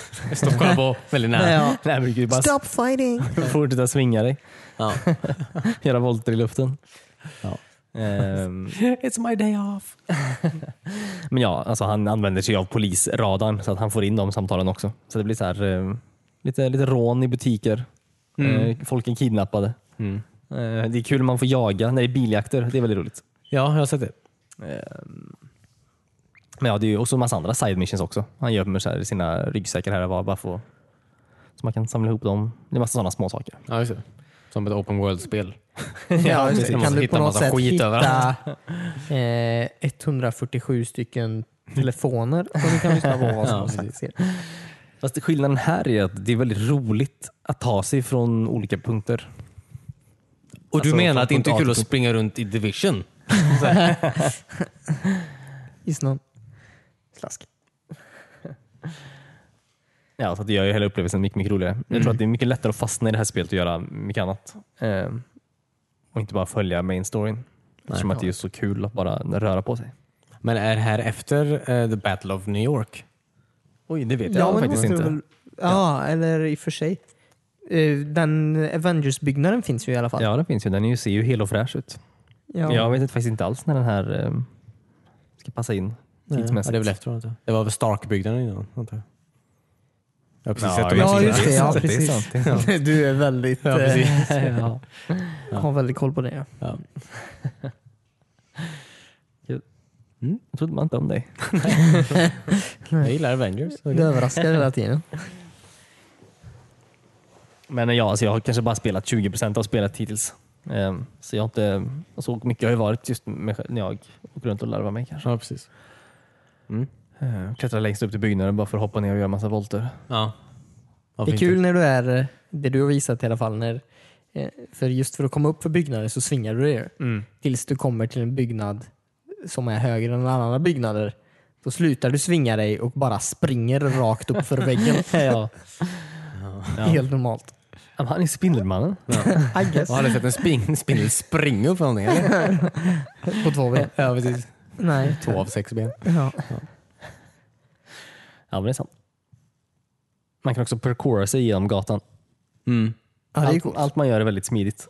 S2: Stå och kolla på väldigt nära.
S1: Ja.
S3: Nej, men du kan ju bara
S1: Stop fighting!
S3: fortsätta svinga dig.
S2: Ja.
S3: Göra volter i luften.
S2: Ja.
S3: Ehm,
S2: It's my day off.
S3: Men ja, alltså han använder sig av polisradarn så att han får in de samtalen också. Så det blir så här, eh, lite, lite rån i butiker.
S2: Mm.
S3: Eh, Folk är kidnappade. Eh, Det är kul när man får jaga när det är biljakter. Det är väldigt roligt.
S2: Ja, jag har sett det.
S3: Men ja, det är ju också en massa andra side missions också. Han gör med så här sina ryggsäckar här och var, bara få, så man kan samla ihop dem. Det är massa sådana små saker.
S2: Ja, just det. Som ett open world-spel.
S1: Ja,
S2: just det. Man
S1: Kan
S2: måste
S1: du
S2: hitta
S1: på något
S2: massa
S1: sätt
S2: skit
S1: hitta
S2: överallt.
S1: eh, 147 stycken telefoner som du kan lyssna på vad
S2: Ja,
S1: som
S2: precis.
S1: helst.
S3: Fast skillnaden här är att det är väldigt roligt att ta sig från olika punkter.
S2: Och
S3: Alltså,
S2: du menar
S3: från
S2: att det inte är
S3: punkt A
S2: kul att
S3: till punkt-
S2: springa runt i division?
S1: Gissa någon. Slask.
S3: Ja, så att det gör ju hela upplevelsen mycket, mycket roligare. Jag tror att det är mycket lättare att fastna i det här spelet och göra mycket annat. Eh, och inte bara följa main storyn. Eftersom att det är just så kul att bara röra på sig.
S2: Men är det här efter eh, The Battle of New York?
S3: Oj, det vet
S1: men det måste väl- Ja, eller i och för sig. Eh, Den Avengers-byggnaden finns ju i alla fall.
S3: Ja, den finns ju. Den är ju, ser ju hel och fräsch ut.
S1: Ja.
S3: Jag vet inte, faktiskt inte alls när den här eh, ska passa in
S2: Ja,
S3: tidsmässigt.
S2: det är väl efteråt. antar jag. Det var väl Stark-byggnaden innan, antar jag. Jag har precis sett
S3: Ja,
S2: dem
S3: ja,
S2: efteråt.
S1: just det. Ja,
S3: Det är
S1: precis.
S3: sant, det är
S1: Du är väldigt,
S2: Ja,
S1: eh,
S2: precis.
S3: ja.
S1: har väldigt koll på det. Ja.
S2: Ja.
S3: Jag trodde man inte om dig.
S2: Jag gillar Avengers.
S1: Du överraskar hela tiden.
S3: Men ja, alltså jag har kanske bara spelat 20 av spelet hittills. Ehm, Så jag har inte så mycket har ju varit just med, själv- när jag åker runt och larvar mig kanske.
S2: Ja, precis.
S3: Ehm, Klättrar längst upp till byggnaden bara för att hoppa ner och göra massa volter.
S2: Ja.
S1: Det är kul när du är, eh, det du har visat i alla fall, när, eh, för just för att komma upp för byggnader så svingar du dig
S2: Mm.
S1: tills du kommer till en byggnad som är högre än alla andra byggnader. Då slutar du svinga dig och bara springer rakt upp för väggen.
S3: ja.
S1: Helt normalt.
S3: Men Han är Spindelmannen.
S1: I guess.
S2: Jag har aldrig sett en spin- spindel springa upp för någonting. eller?
S1: På två ben.
S2: Ja, precis.
S1: Nej.
S2: Två av sex ben.
S1: Ja.
S3: Ja, men det är sant. Man kan också parkoura sig genom gatan.
S1: Ja, det är
S3: allt,
S1: coolt.
S3: allt man gör är väldigt smidigt.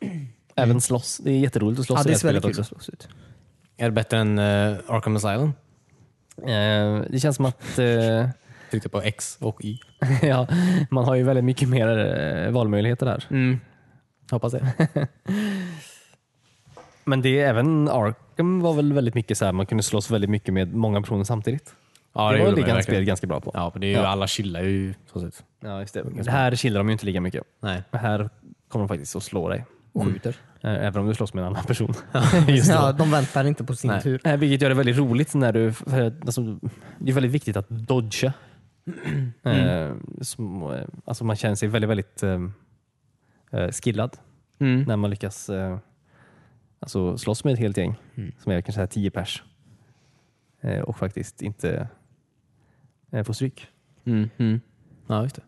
S3: Även slåss. Det är jätteroligt att slåss
S1: Ja,
S3: i
S1: det
S3: här
S1: ser väldigt
S3: spelet
S1: kul
S3: också.
S1: ut.
S2: Är det bättre än eh, Arkham Asylum?
S3: Ehm, Det känns som att eh,
S2: Tryckte på X och Y.
S3: ja, man har ju väldigt mycket mer eh, valmöjligheter här.
S2: Hoppas det.
S3: Men det är även Arkham var väl väldigt mycket så här, man kunde slåss väldigt mycket med många personer samtidigt.
S2: Ja,
S3: det, var
S2: gjorde
S3: väl det
S2: man ju
S3: ganska,
S2: verkligen.
S3: spelet ganska bra på.
S2: Ja, men det är ju
S3: Ja.
S2: alla chillar ju så sett.
S3: Ja, just det. det här chillar de ju inte lika mycket.
S2: Nej.
S3: Men Här kommer de faktiskt att slå dig.
S2: Mm.
S1: Och skjuter.
S3: Eh, Även om du slåss med en annan person.
S1: Ja, de väntar inte på sin
S2: Nej.
S1: tur.
S3: Eh, Vilket gör det väldigt roligt när du... för att, Alltså, det är väldigt viktigt att dodga.
S2: Mm.
S3: Eh, som, eh, alltså man känner sig väldigt, väldigt eh, eh, skillad när man lyckas eh, alltså slåss med ett helt gäng som är kanske så här 10 pers eh, och faktiskt inte eh, får stryk.
S2: Mm. Mm. Ja, just det.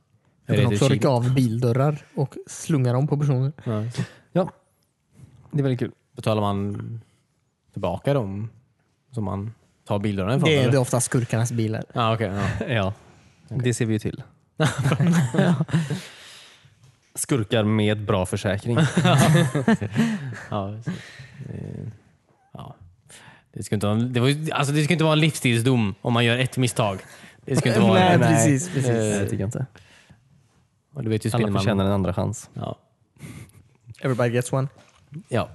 S1: Jag
S2: Är
S1: kan
S2: det
S1: också
S2: Chile?
S1: rycka av bildörrar och slunga dem på personer.
S2: Ja, just det.
S3: Ja, det är väldigt kul.
S2: Betalar man tillbaka dem som man tar bilderna ifrån?
S1: Det är,
S2: eller?
S1: det är ofta skurkarnas bilar.
S2: Ja, okej. ja.
S3: Ja, det ser vi ju till. Skurkar med bra försäkring.
S2: Ja, så- eh, ja. Det ska inte vara en, det var, ju- alltså det ska inte vara en livstidsdom om man gör ett misstag. Det ska inte vara
S1: Nej,
S2: det.
S1: precis, precis.
S2: Eh,
S3: Jag tycker inte.
S2: och du vet ju
S3: Alla
S2: Spindelmannen.
S3: förtjänar en andra chans.
S2: Ja.
S1: Everybody gets one.
S2: ja.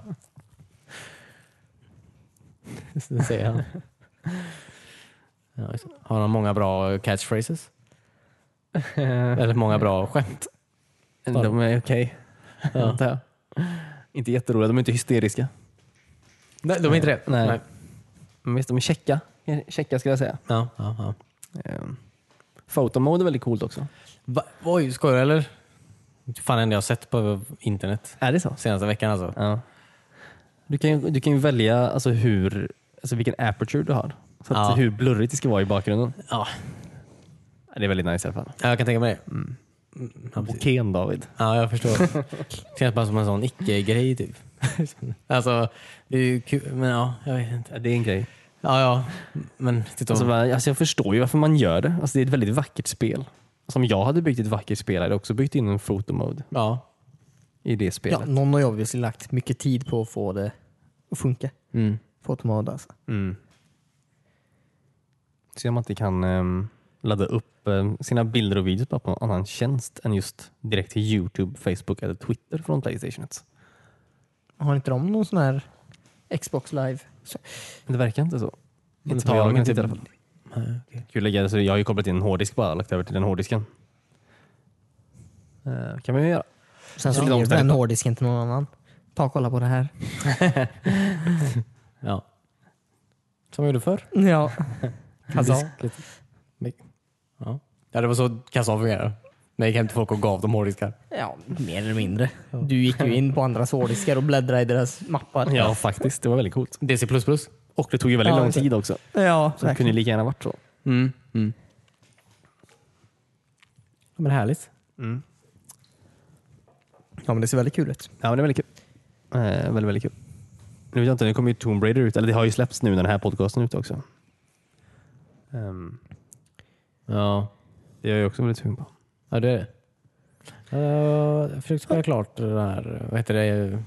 S2: Det säger han. Ja, just det. har han många bra catchphrases? Eller många bra skämt?
S3: De är okej, antar jag. Inte jätteroliga, de är inte hysteriska.
S2: Nej, de är inte det?
S3: Nej. Men visst, de är käcka. Käcka skulle jag säga.
S2: Ja, ja, ja.
S3: Eh, Photomode är väldigt coolt också.
S2: Va? Oj, skojar du eller? Det är fan det enda jag har sett på internet
S3: Är det så?
S2: senaste veckan alltså.
S3: Ja. Du kan ju, du kan ju välja alltså hur, alltså vilken aperture du har. Så att
S2: Ja.
S3: Hur blurrigt det ska vara i bakgrunden.
S2: Ja,
S3: Det är väldigt nice i alla fall.
S2: Ja, jag kan tänka mig det. Mm, ja, precis.
S3: Okej David.
S2: Ja, jag förstår. Det känns bara som en sån icke-grej typ. alltså, det är ju kul, men ja, jag vet inte.
S3: Ja, det är en grej.
S2: Ja, ja, men typ titta
S3: Alltså,
S2: om.
S3: va- alltså, jag förstår ju varför man gör det. Alltså, det är ett väldigt vackert spel. Som jag hade byggt ett vackert spel hade jag också byggt in en photomode
S2: Ja,
S3: i det
S1: Ja,
S3: spelet.
S1: någon har ju obviously lagt mycket tid på att få det att funka.
S2: mm.
S1: Få automata alltså.
S3: Mm. Se om man inte kan ehm, ladda upp ehm, sina bilder och videos bara på någon annan tjänst än just direkt till Youtube, Facebook eller Twitter från Playstation 1.
S1: Har inte de någon sån här Xbox live? Så,
S3: Men det verkar inte så.
S2: Men
S3: Inte
S2: tar
S3: vad jag
S2: de
S3: har
S2: inte-
S3: inte i alla fall. Kul att lägga, så jag har ju kopplat in en hårddisk bara lagt över till den hårddisken. Eh, kan man ju göra.
S1: sen
S3: Ja,
S1: så
S3: de
S1: ger du
S3: ställer
S1: den
S3: på.
S1: hårddisken till någon annan. Ta och kolla på det här.
S2: ja. Som jag gjorde förr.
S1: Ja. Alltså,
S2: Kassa. Ja. ja, det var så kassan fungerade. Jag gick hem till folk och gav dem hårddiskar.
S1: ja, mer eller mindre. Du gick ju in på andras hårddiskar och bläddrade i deras mappar.
S3: Ja, faktiskt. Det var väldigt coolt.
S2: DC++.
S3: Och det tog ju väldigt
S1: Ja,
S3: lång
S1: exakt.
S3: tid också.
S1: ja
S3: Så det kunde ju lika gärna varit så.
S2: Mm. Mm. Ja, men härligt.
S3: Mm.
S1: ja, men det ser väldigt kul ut.
S3: Ja, men det är väldigt kul. Eh, väldigt, väldigt kul. Nu vet jag inte, nu kommer ju Tomb Raider ut. Eller det har ju släppts nu när den här podcasten är ute också. Ehm,
S2: Ja,
S3: det är jag ju också väldigt sugen på.
S2: ja det är det. Eh, jag försökte spela klart det där, vad heter det,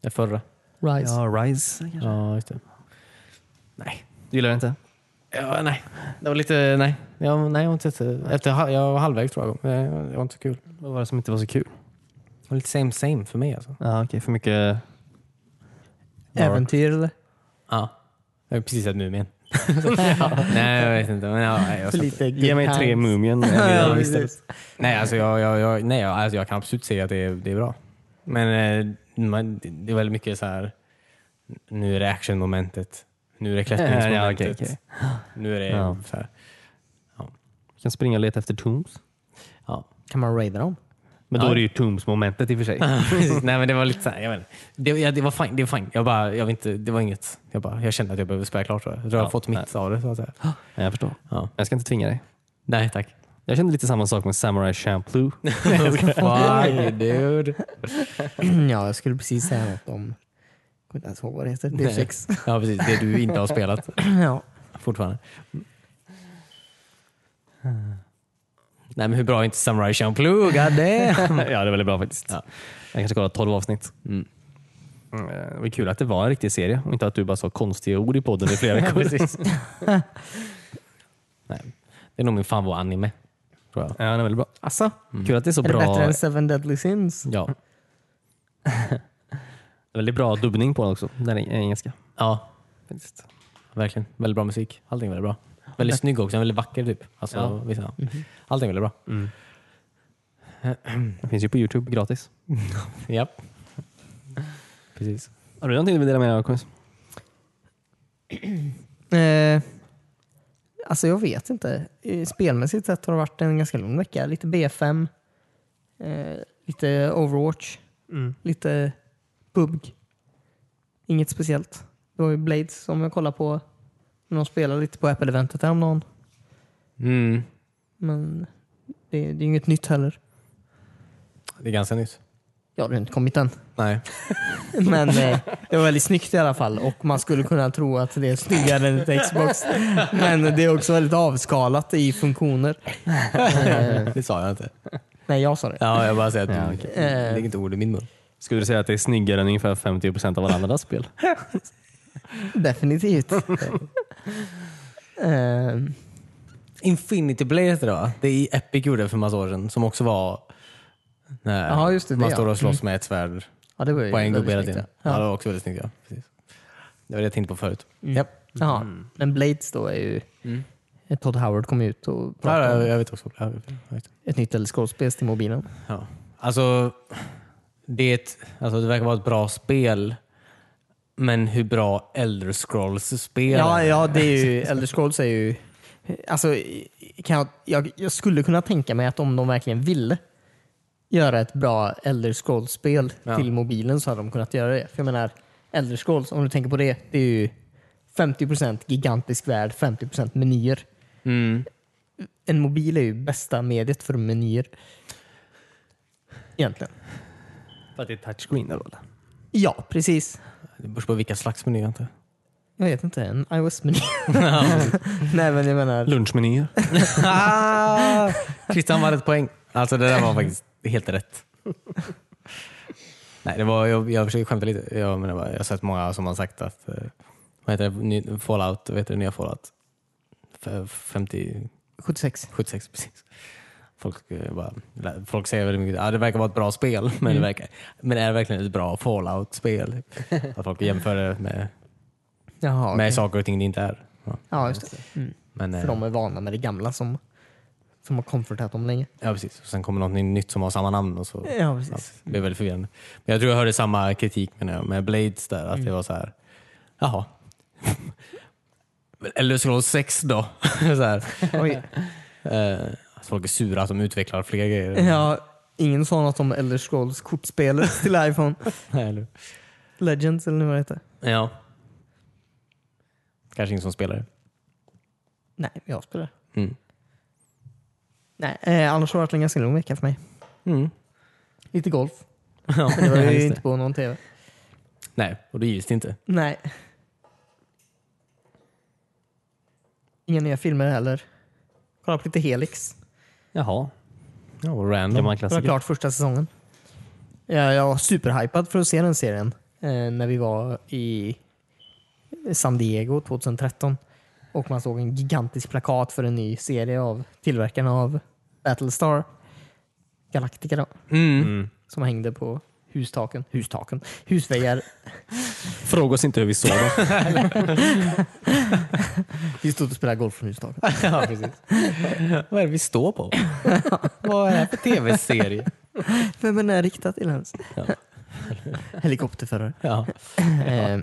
S2: det förra.
S1: Rise.
S3: Rise kanske.
S2: Ja, just det.
S3: Du gillar det inte?
S2: Ja, nej. Det var lite, nej. Jag, nej, jag har inte sett det. Efter, hal- jag var halvvägs tror jag. Det var- det var inte så kul.
S3: Vad var det som inte var så kul?
S2: Det var lite same same för mig alltså.
S3: Ja, okej. För mycket...
S1: Äventyr eller?
S2: Ja. Jag har precis sett Mumien. Nej, jag vet inte. Men, ja, jag
S1: För
S2: ska inte-
S1: lite
S3: Ge mig tre Mumien.
S1: Ja,
S3: Jag vill-
S1: precis.
S2: Nej, alltså jag, jag, jag, nej jag, alltså jag kan absolut säga att det är, det är bra. Men eh, man, det är väldigt mycket så här. nu är det actionmomentet. Nu är det klättringsmomentet.
S3: Ja, okej, okej.
S2: Nu är det
S3: Ja.
S2: så här.
S3: Jag kan springa och leta efter Tombs.
S2: Ja.
S1: Kan man raida dem?
S3: Men då är det ju Tombs-momentet i och för sig.
S2: Precis. nej men det var lite såhär, jag vet inte. det, ja, det var fine. Det var fine. Jag bara, jag vet inte, det var inget. Jag, bara, jag kände att jag behövde spela klart. tror Jag Jag tror jag har
S3: Ja,
S2: fått mitt av det. Så att säga.
S3: Ja, jag förstår.
S2: Ja.
S3: Jag ska inte tvinga dig.
S2: Nej tack.
S3: Jag kände lite samma sak med Samurai Champloo.
S2: Fuck dude.
S1: ja, jag skulle precis säga något om... Jag kommer inte ens ihåg vad det heter. Det är
S2: Nej.
S1: sex.
S2: Ja precis, det du inte har spelat
S1: ja.
S2: fortfarande. Nej men hur bra är inte Samurai Champloo? God damn.
S3: ja, det är väldigt bra faktiskt.
S2: Ja.
S3: Jag kanske kollar 12 avsnitt.
S2: Mm.
S3: Mm, eh, Det var kul att det var en riktig serie och inte att du bara sa konstiga ord i podden i flera veckor.
S2: Nej. Det är nog min favorit-anime. Tror jag.
S3: Ja, den är väldigt bra. Asså, Kul att det är så
S1: Är det
S3: bra.
S1: bättre än Seven Deadly Sins?
S2: Ja.
S3: Väldigt bra dubbning på den också. Den är engelska.
S2: ja,
S3: Faktiskt.
S2: verkligen. Väldigt bra musik. Allting är väldigt bra. Väldigt snygg också. Väldigt vacker typ. Alltså,
S3: Ja.
S2: vissa. Allting är väldigt bra.
S3: Den finns ju på Youtube gratis.
S2: Japp. Precis.
S3: Har du någonting du vill dela med dig av Kons?
S1: Eh, alltså jag vet inte. Eh, Spelmässigt sett har det varit en ganska lång vecka. Lite B5, eh, lite Overwatch, lite PUBG. Inget speciellt. Det var ju Blades som jag kollade på. Men De spelade lite på Apple-eventet häromdagen.
S2: Mm.
S1: Men det, det är inget nytt heller.
S2: Det är ganska nytt.
S1: Ja, det har inte kommit än.
S2: Nej.
S1: Men eh, det var väldigt snyggt i alla fall och man skulle kunna tro att det är snyggare än ett Xbox. Men det är också väldigt avskalat i funktioner. Eh,
S2: Det sa jag inte.
S1: nej, jag sa det.
S2: Ja, jag bara säger att Eh.
S3: Ja,
S2: du
S3: okej.
S2: det ligger inte ord i min mun.
S3: Skulle du säga att det är snyggare än ungefär 50% av alla andra spel?
S1: Definitivt. Eh,
S2: Infinity Blade heter det va? Det är Epic gjorde för massa år sedan som också var när
S1: Jaha, just det, det,
S2: man
S1: ja.
S2: står och slåss med ett svärd
S1: ja, det var ju
S2: på en gubbe hela
S1: väldigt
S2: tiden.
S1: snyggt,
S2: Ja.
S1: Ja.
S2: det var också väldigt snyggt. Ja. Precis. Det var det jag tänkte på förut.
S1: Mm. Jaha, men Blades då är ju... Todd Howard kom ut och
S2: Ja,
S1: pratade
S2: ja,
S1: om
S2: jag vet också. Ja, jag vet.
S1: ett nytt Elder Scrolls-spel till mobilen.
S2: Ja. Alltså, det, är ett, alltså, det verkar vara ett bra spel, men hur bra Elder Scrolls-spel
S1: Ja,
S2: är.
S1: ja det är ju, Elder Scrolls är ju... Alltså, kan jag, jag, jag skulle kunna tänka mig att om de verkligen ville göra ett bra Elder Scrolls-spel
S2: Ja.
S1: till mobilen så hade de kunnat göra det. För jag menar, Elder Scrolls, om du tänker på det, det är ju 50% gigantisk värld, 50% menyer.
S2: Mm.
S1: En mobil är ju bästa mediet för menyer. Egentligen.
S3: För att det är touchscreen då eller?
S1: Ja, precis.
S2: Det beror på vilka slags menyer inte.
S1: Jag vet inte, en iOS-meny. Nej, men jag menar...
S3: Lunchmenyer.
S2: Ah! Christian var ett poäng. Alltså det där var faktiskt helt rätt. Nej, det var, jag, jag försöker skämta lite. Jag, menar bara, jag har sett många som har sagt att eh, vad heter det, Ny- Fallout, vad heter det nya Fallout? F- 50,
S1: 76.
S2: 76 precis. Folk, eh, bara, folk säger väldigt mycket, ah, det verkar vara ett bra spel, men, det verkar, men är det verkligen ett bra Fallout-spel? Att folk jämför det med,
S1: Jaha,
S2: med
S1: okej.
S2: saker och ting det inte är. Ja,
S1: Ja, just det. Mm.
S2: men, eh,
S1: För de är vana med det gamla som, som har comfortat dem länge.
S2: Ja, precis. Och sen kommer något nytt som har samma namn och så
S1: Ja, precis.
S2: Ja, det blev väldigt förvirrande. Men jag tror jag hörde samma kritik menar jag, med Blades där, att det var så här, jaha. Men Elder Scrolls 6 då? så här.
S1: Oj.
S2: Eh, att folk är sura att de utvecklar fler grejer.
S1: Ja, ingen sa något om Elder Scrolls kortspelet till iPhone.
S2: Nej, eller?
S1: Legends eller vad det heter.
S2: ja. Kanske ingen som spelar det.
S1: Nej, jag spelar.
S2: Mm.
S1: Nej, eh, annars har det varit en ganska lång vecka för mig.
S2: Mm.
S1: Lite golf.
S2: Ja,
S1: Men det var
S2: just
S1: ju
S2: det.
S1: inte på någon TV.
S2: Nej, och det gills det inte.
S1: Nej. Inga nya filmer heller. Kolla på lite Helix.
S3: Jaha,
S2: Ja, och random.
S3: gammal
S1: Det var
S3: klassiker.
S1: klart första säsongen. Ja, jag var superhypad för att se den serien eh, när vi var i San Diego 2013. Och man såg en gigantisk plakat för en ny serie av tillverkarna av Battlestar Galactica då,
S2: Mm.
S1: som hängde på hustaken, hustaken, husväggar.
S3: Fråga oss inte hur vi såg dem.
S1: Vi stod och spelade golf från hustaken.
S2: ja, precis. Vad är det vi står på? Vad är det här för tv-serie?
S1: Vem är den här riktad till ens? Helikopterförare.
S2: Ja.
S1: Eh,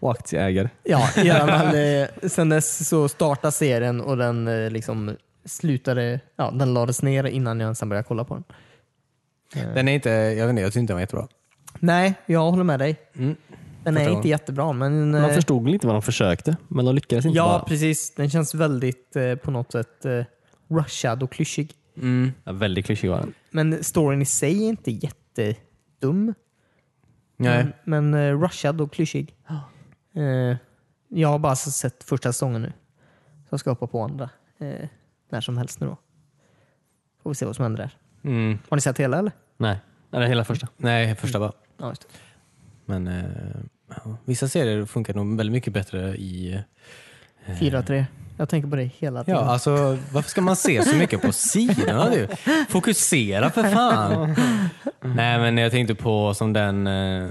S3: Och aktieägare.
S1: Ja, i alla fall. eh, Sen dess så startade serien och den eh, liksom slutade, ja, den lades ner innan jag ens började kolla på den. Eh,
S2: Den är inte, jag vet inte, jag tyckte inte den var jättebra.
S1: Nej, jag håller med dig. Den är
S2: Förstår.
S1: inte jättebra, men... eh,
S3: Mm. Man förstod väl inte vad de försökte, men de lyckades inte.
S1: ja,
S3: bara.
S1: precis. Den känns väldigt eh, på något sätt eh, rushad och klyschig.
S2: Mm.
S3: Ja, väldigt klyschig var den.
S1: Men storyn i sig är inte jättedum.
S2: Nej.
S1: Men, men eh, rushad och klyschig. Eh, jag har bara så sett första säsongen nu. Så jag ska hoppa på andra eh, när som helst nu då. Får vi se vad som händer där.
S2: Mm.
S1: Har ni sett hela eller?
S2: Nej.
S3: Eller hela första.
S1: Mm.
S2: Nej, första bara.
S1: Ja, just det.
S2: Men eh, ja. vissa serier funkar nog väldigt mycket bättre i...
S1: 4-3. Jag tänker på det hela
S2: Eh. Ja,
S1: tiden.
S2: alltså varför ska man se så mycket på sidorna du? Fokusera för fan! Nej, men jag tänkte på som den, eh,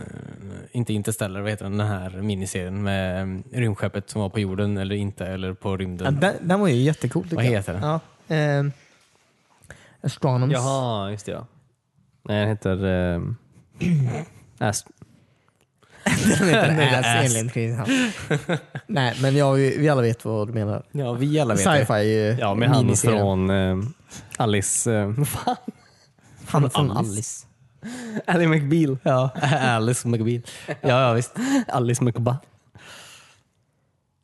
S2: inte Interstellar, vad heter den, den här miniserien med mm, rymdskeppet som var på jorden eller inte, eller på
S1: Ja,
S2: rymden.
S1: den, den var ju jättecool tycker
S2: Vad
S1: jag.
S2: heter den?
S1: Ja, ehm, Astronoms.
S3: Jaha, just det ja. Nej, den heter... ehm, Ast-
S1: den heter
S2: Nej, det är
S1: Ass,
S2: Ass.
S1: enligt Christian. Nej, men jag, vi alla vet vad du menar.
S2: Ja, vi alla vet det.
S1: Sci-fi eh,
S3: ja, med han
S1: miniserien.
S3: från ehm, Alice... ehm, fan.
S1: Han från
S3: Alice.
S1: Alice.
S3: Ally McBeal.
S2: Ja, Alice McBeal. Ja, ja visst.
S3: Alice McBa.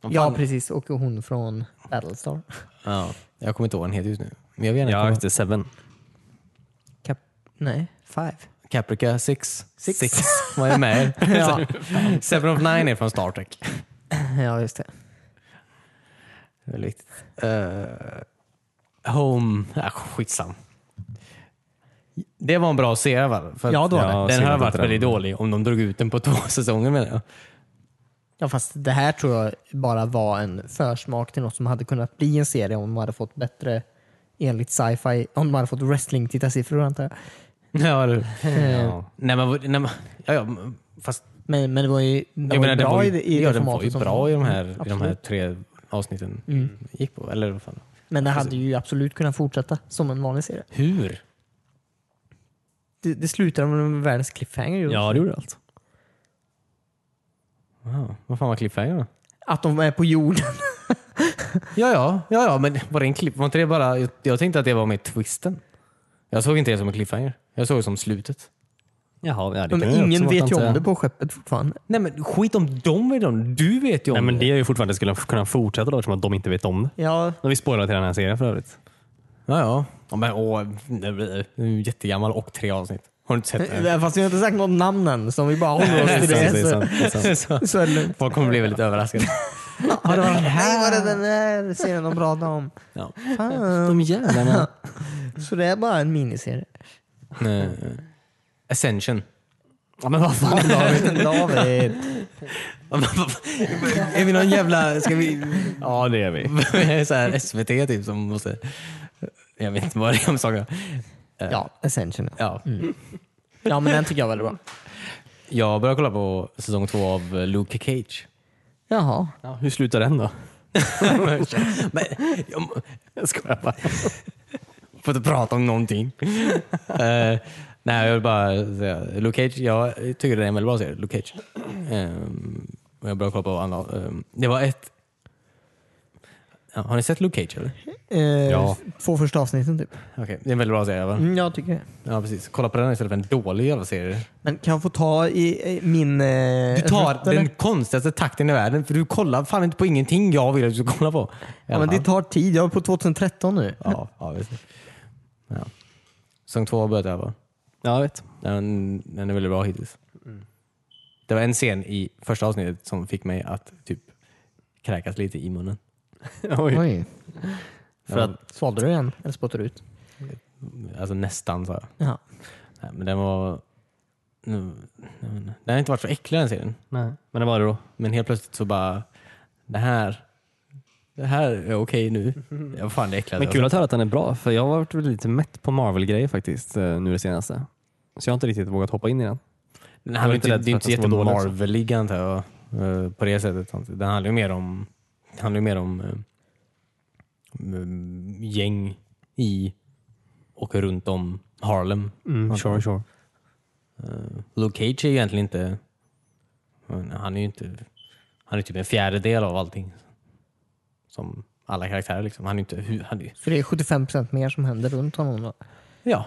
S1: Ja, precis. Och hon från Battlestar.
S2: Ja, jag kommer inte ihåg vad den heter just nu. Men jag vet inte.
S3: Ja,
S2: Ja.
S3: just det. Seven.
S1: Cap Nej, Five.
S2: Caprica 6.
S1: Six.
S2: Vad är med
S1: Ja.
S2: Seven of Nine är från Star Trek.
S1: ja, just det.
S2: Väldigt viktigt. Eh, home... Äh, skitsam. Det var en bra serie va? För att-
S1: Ja, det var det.
S2: Den
S3: synd
S2: hade
S3: att
S2: varit
S3: inte den-
S2: väldigt dålig om de drog ut den på två säsonger menar jag.
S1: Ja, fast det här tror jag bara var en försmak till något som hade kunnat bli en serie om de hade fått bättre, enligt sci-fi, om de hade fått wrestling-tittarsiffror antar jag.
S2: Ja, eller
S3: Ja.
S2: Nej, men, nej, men, ja, ja, fast
S1: Men, men det var ju, den
S2: jag
S1: var
S2: menar,
S1: ju
S2: den
S1: bra
S2: var
S1: i,
S2: ju,
S1: det- i
S2: ja,
S1: det
S2: den var
S1: formatet
S2: ju
S1: som
S2: bra i de här, i de här
S1: Absolut. Mm.
S2: tre avsnitten gick på. Eller vad fan.
S1: Men den hade ju absolut kunnat fortsätta som en vanlig serie.
S2: Hur?
S1: Det, det slutade med världens cliffhanger. ju.
S3: Ja, det gjorde allt.
S2: Wow. Vad fan var cliffhangern då?
S1: Att de är på jorden.
S2: Ja, ja, ja, ja, men var det en klipp? Var inte det bara, jag, jag tänkte att det var med twisten. Jag såg inte det som en cliffhanger. Jag såg det som slutet.
S3: Jaha, ja, det
S1: Men
S3: kan ju
S1: ingen
S3: också
S1: vet
S3: vara
S1: ju om
S3: sant,
S1: det
S3: ja.
S1: på skeppet fortfarande.
S2: Nej men skit om dem vet om. Du vet ju om
S3: Nej, men det är ju fortfarande skulle kunna fortsätta då, eftersom att de inte vet om det.
S1: Ja,
S3: Nu har vi spoilat hela den här serien för övrigt.
S2: Ja, ja. ja men, åh, det blir ju jättegammal och tre avsnitt. Har du inte sett det?
S1: eh, fast vi har inte sagt något namn än, så om vi bara håller oss till det.
S3: är sant,
S1: så-
S3: det är sant.
S2: Så,
S1: Så är det lugnt.
S2: folk kommer bli väldigt överraskade.
S1: Har det varit den här? Nej, var det den här serien de pratade om?
S2: Ja.
S1: Fan.
S3: De jävlarna.
S1: Så det är bara en miniserie.
S2: Eh, Ascension.
S3: ja, men vad fan.
S1: David.
S2: är vi någon jävla... Ska vi...
S3: ja, det är vi.
S2: så här SVT typ som måste... Jag vet inte vad det är om saker.
S1: Ja, Ascension. ja.
S2: Ja.
S1: Ja, men den tycker jag är väldigt bra.
S2: Jag börjar kolla på säsong två av Luke Cage.
S1: Jaha.
S3: Ja, hur slutar den då?
S2: Men, jag, jag skojar bara. Får inte prata om någonting. Eh, nej, jag vill bara säga, Luke Cage, jag tycker det är en väldigt bra serie, Luke Cage. Ehm, och jag börjar kolla på andra. ehm, det var ett... Ja, har ni sett Luke Cage eller?
S1: Eh,
S3: Ja.
S1: Två första avsnitten typ.
S2: Okej, det är en väldigt bra serie. Va?
S1: Mm, jag tycker det.
S2: Ja, precis. Kolla på den istället för en dålig jävla serie.
S1: Men kan jag få ta i, i min... Eh,
S2: Du tar
S1: rutt, eller?
S2: den konstigaste takten i världen för du kollar fan inte på ingenting jag vill att du ska kolla på. I
S1: Ja,
S2: alla
S1: men det
S2: fall.
S1: tar tid. Jag är på 2013 nu.
S2: Ja, ja, visst. Ja. Säsong två har börjat öva.
S3: Ja, jag vet.
S2: Den, den är väldigt bra hittills.
S3: Mm.
S2: Det var en scen i första avsnittet som fick mig att typ kräkas lite i munnen.
S3: Oj. För att,
S1: Svalde du den? Eller spottade du ut?
S2: Alltså nästan sa jag.
S1: Ja.
S2: Nej, men den var... Nu, jag vet inte. den har inte varit så äcklig den serien.
S3: nej. Men det var det då.
S2: Men helt plötsligt så bara... Det här... Det här är okej nu. Ja, fan det äckligaste
S3: Men kul att höra att den är bra, för jag har varit lite mätt på Marvel-grejer faktiskt eh, nu det senaste. Så jag har inte riktigt vågat hoppa in i den.
S2: Den handlar
S3: var
S2: ju
S3: inte
S2: inte,
S3: rädd
S2: det är
S3: för
S2: inte
S3: att den ska vara dålig liksom. också.
S2: jättemarvelig antar jag. eh, På det sättet. Den handlar ju mer om, den handlar ju mer om eh, mm, gäng i och runt om Harlem. antar jag.
S3: Mm, sure.
S2: Eh, Luke Cage är ju egentligen inte... men Han är ju inte... Han är typ en fjärdedel av allting. Som alla karaktärer liksom. Han är inte... hu- Han är,
S1: Så det är 75% mer som händer runt honom då?
S2: ja.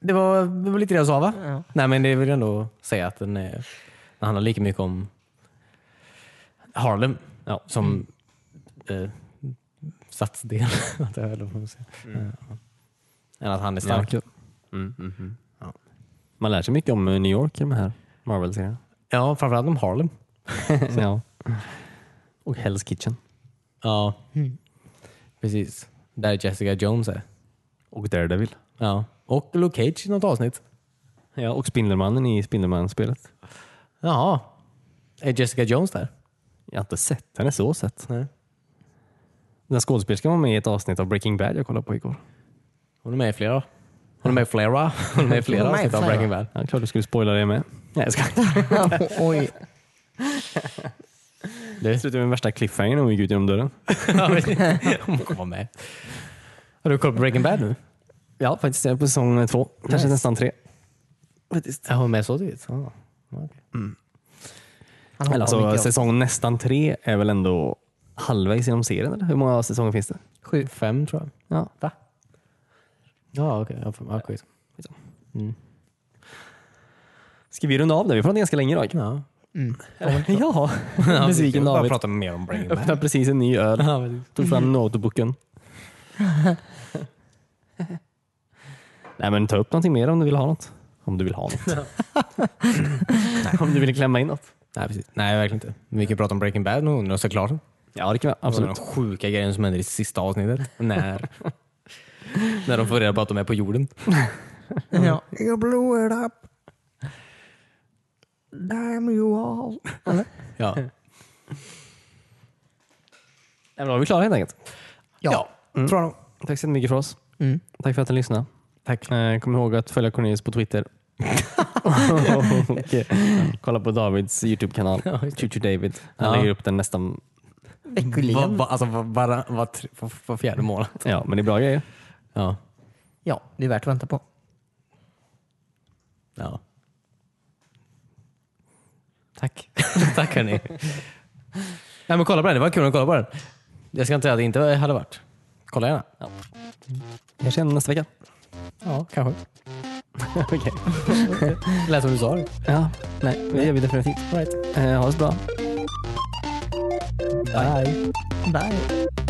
S2: Det var, det var lite det jag sa va?
S1: Ja.
S2: Nej men det vill jag ändå säga att den, är, den handlar lika mycket om Harlem ja, som
S1: Mm.
S2: eh, stadsdel. antar jag, eller vad man säger.
S1: Mm.
S2: Ja. Än att han är stark.
S3: Stark.
S2: Ja.
S3: Man lär sig mycket om eh, New York i de här Marvel-serierna.
S2: Ja, framförallt om Harlem.
S3: ja. Och Hell's Kitchen.
S2: Ja,
S1: Mm.
S2: precis. Där Jessica Jones är.
S3: Och Daredevil.
S2: Ja. Och Luke Cage i något avsnitt.
S3: Ja, och Spindelmannen i Spindelmannen-spelet.
S2: Jaha. Är Jessica Jones där?
S3: Jag har inte sett henne så sett.
S2: Nej.
S3: Den skådespelerskan var med i ett avsnitt av Breaking Bad jag kollade på igår.
S2: Hon är med i flera. Hon är med i flera. Hon är med i flera
S1: Hon är med i
S2: avsnitt av
S1: flera.
S2: Breaking Bad.
S3: Ja, klart du skulle spoila det med. Nej, jag ska
S1: Oj,
S3: Det slutar med värsta cliffhangern när hon gick ut genom dörren.
S2: Hon kommer vara med. Har du kollat på Breaking Bad nu?
S3: Ja, faktiskt. Jag är på säsong två. Kanske
S2: Nice.
S3: nästan tre.
S2: Faktiskt. Är hon med så tidigt? Ja. okej.
S1: han
S3: Eller
S1: hoppar
S3: alltså,
S1: mycket av.
S3: säsong nästan tre är väl ändå halvvägs genom serien? Eller? Hur många säsonger finns det?
S1: Sju.
S2: Fem tror jag.
S3: Ja.
S2: Va? Ja, okej. Ja, fem. Ja, skit.
S3: Ska vi runda av där? Vi har pratat ganska länge idag.
S2: Ja.
S3: Ja, besviken David.
S2: prata mer om Breaking
S3: Öppnade precis en ny öl. Tog fram notebooken. Nej men ta upp någonting mer om du vill ha något. Om du vill ha något. om du vill klämma in något.
S2: Nej, precis. Nej, verkligen inte. Men Vi kan prata om Breaking Bad nu undrar jag såklart.
S3: Ja det kan vi
S2: Absolut.
S3: absolut.
S2: De sjuka grejerna som händer i sista avsnittet. När, när de får reda på att de är på jorden.
S1: Ja. You blew it up. Damn you all.
S2: Ja.
S3: Nej, men då är vi klara helt enkelt.
S1: Ja.
S2: Mm.
S3: Tror jag. Tack så mycket för oss.
S1: Mm.
S3: Tack för att ni lyssnade. Tack. Eh, kom ihåg att följa Cornelius på Twitter. och eh, kolla på Davids YouTube-kanal. Chuchu David. Han
S2: Ja.
S3: lägger upp den nästan.
S2: Va,
S1: Veckoligen.
S2: va, alltså, va, bara, va, tre- va, va, fjärde månad.
S3: Ja, men det är bra grejer.
S2: Ja.
S1: Ja, det är värt att vänta på.
S2: ja. Tack. Tack hörni. Nej, men kolla på den. Det var kul att kolla på den. Jag ska inte säga att det inte hade varit. Kolla gärna. Ja,
S3: Kanske igen nästa vecka.
S2: kanske.
S3: Okej.
S2: Det lät som du sa det.
S3: Ja, nej, det gör vi definitivt. Right. Eh, ha det så bra.
S1: Bye.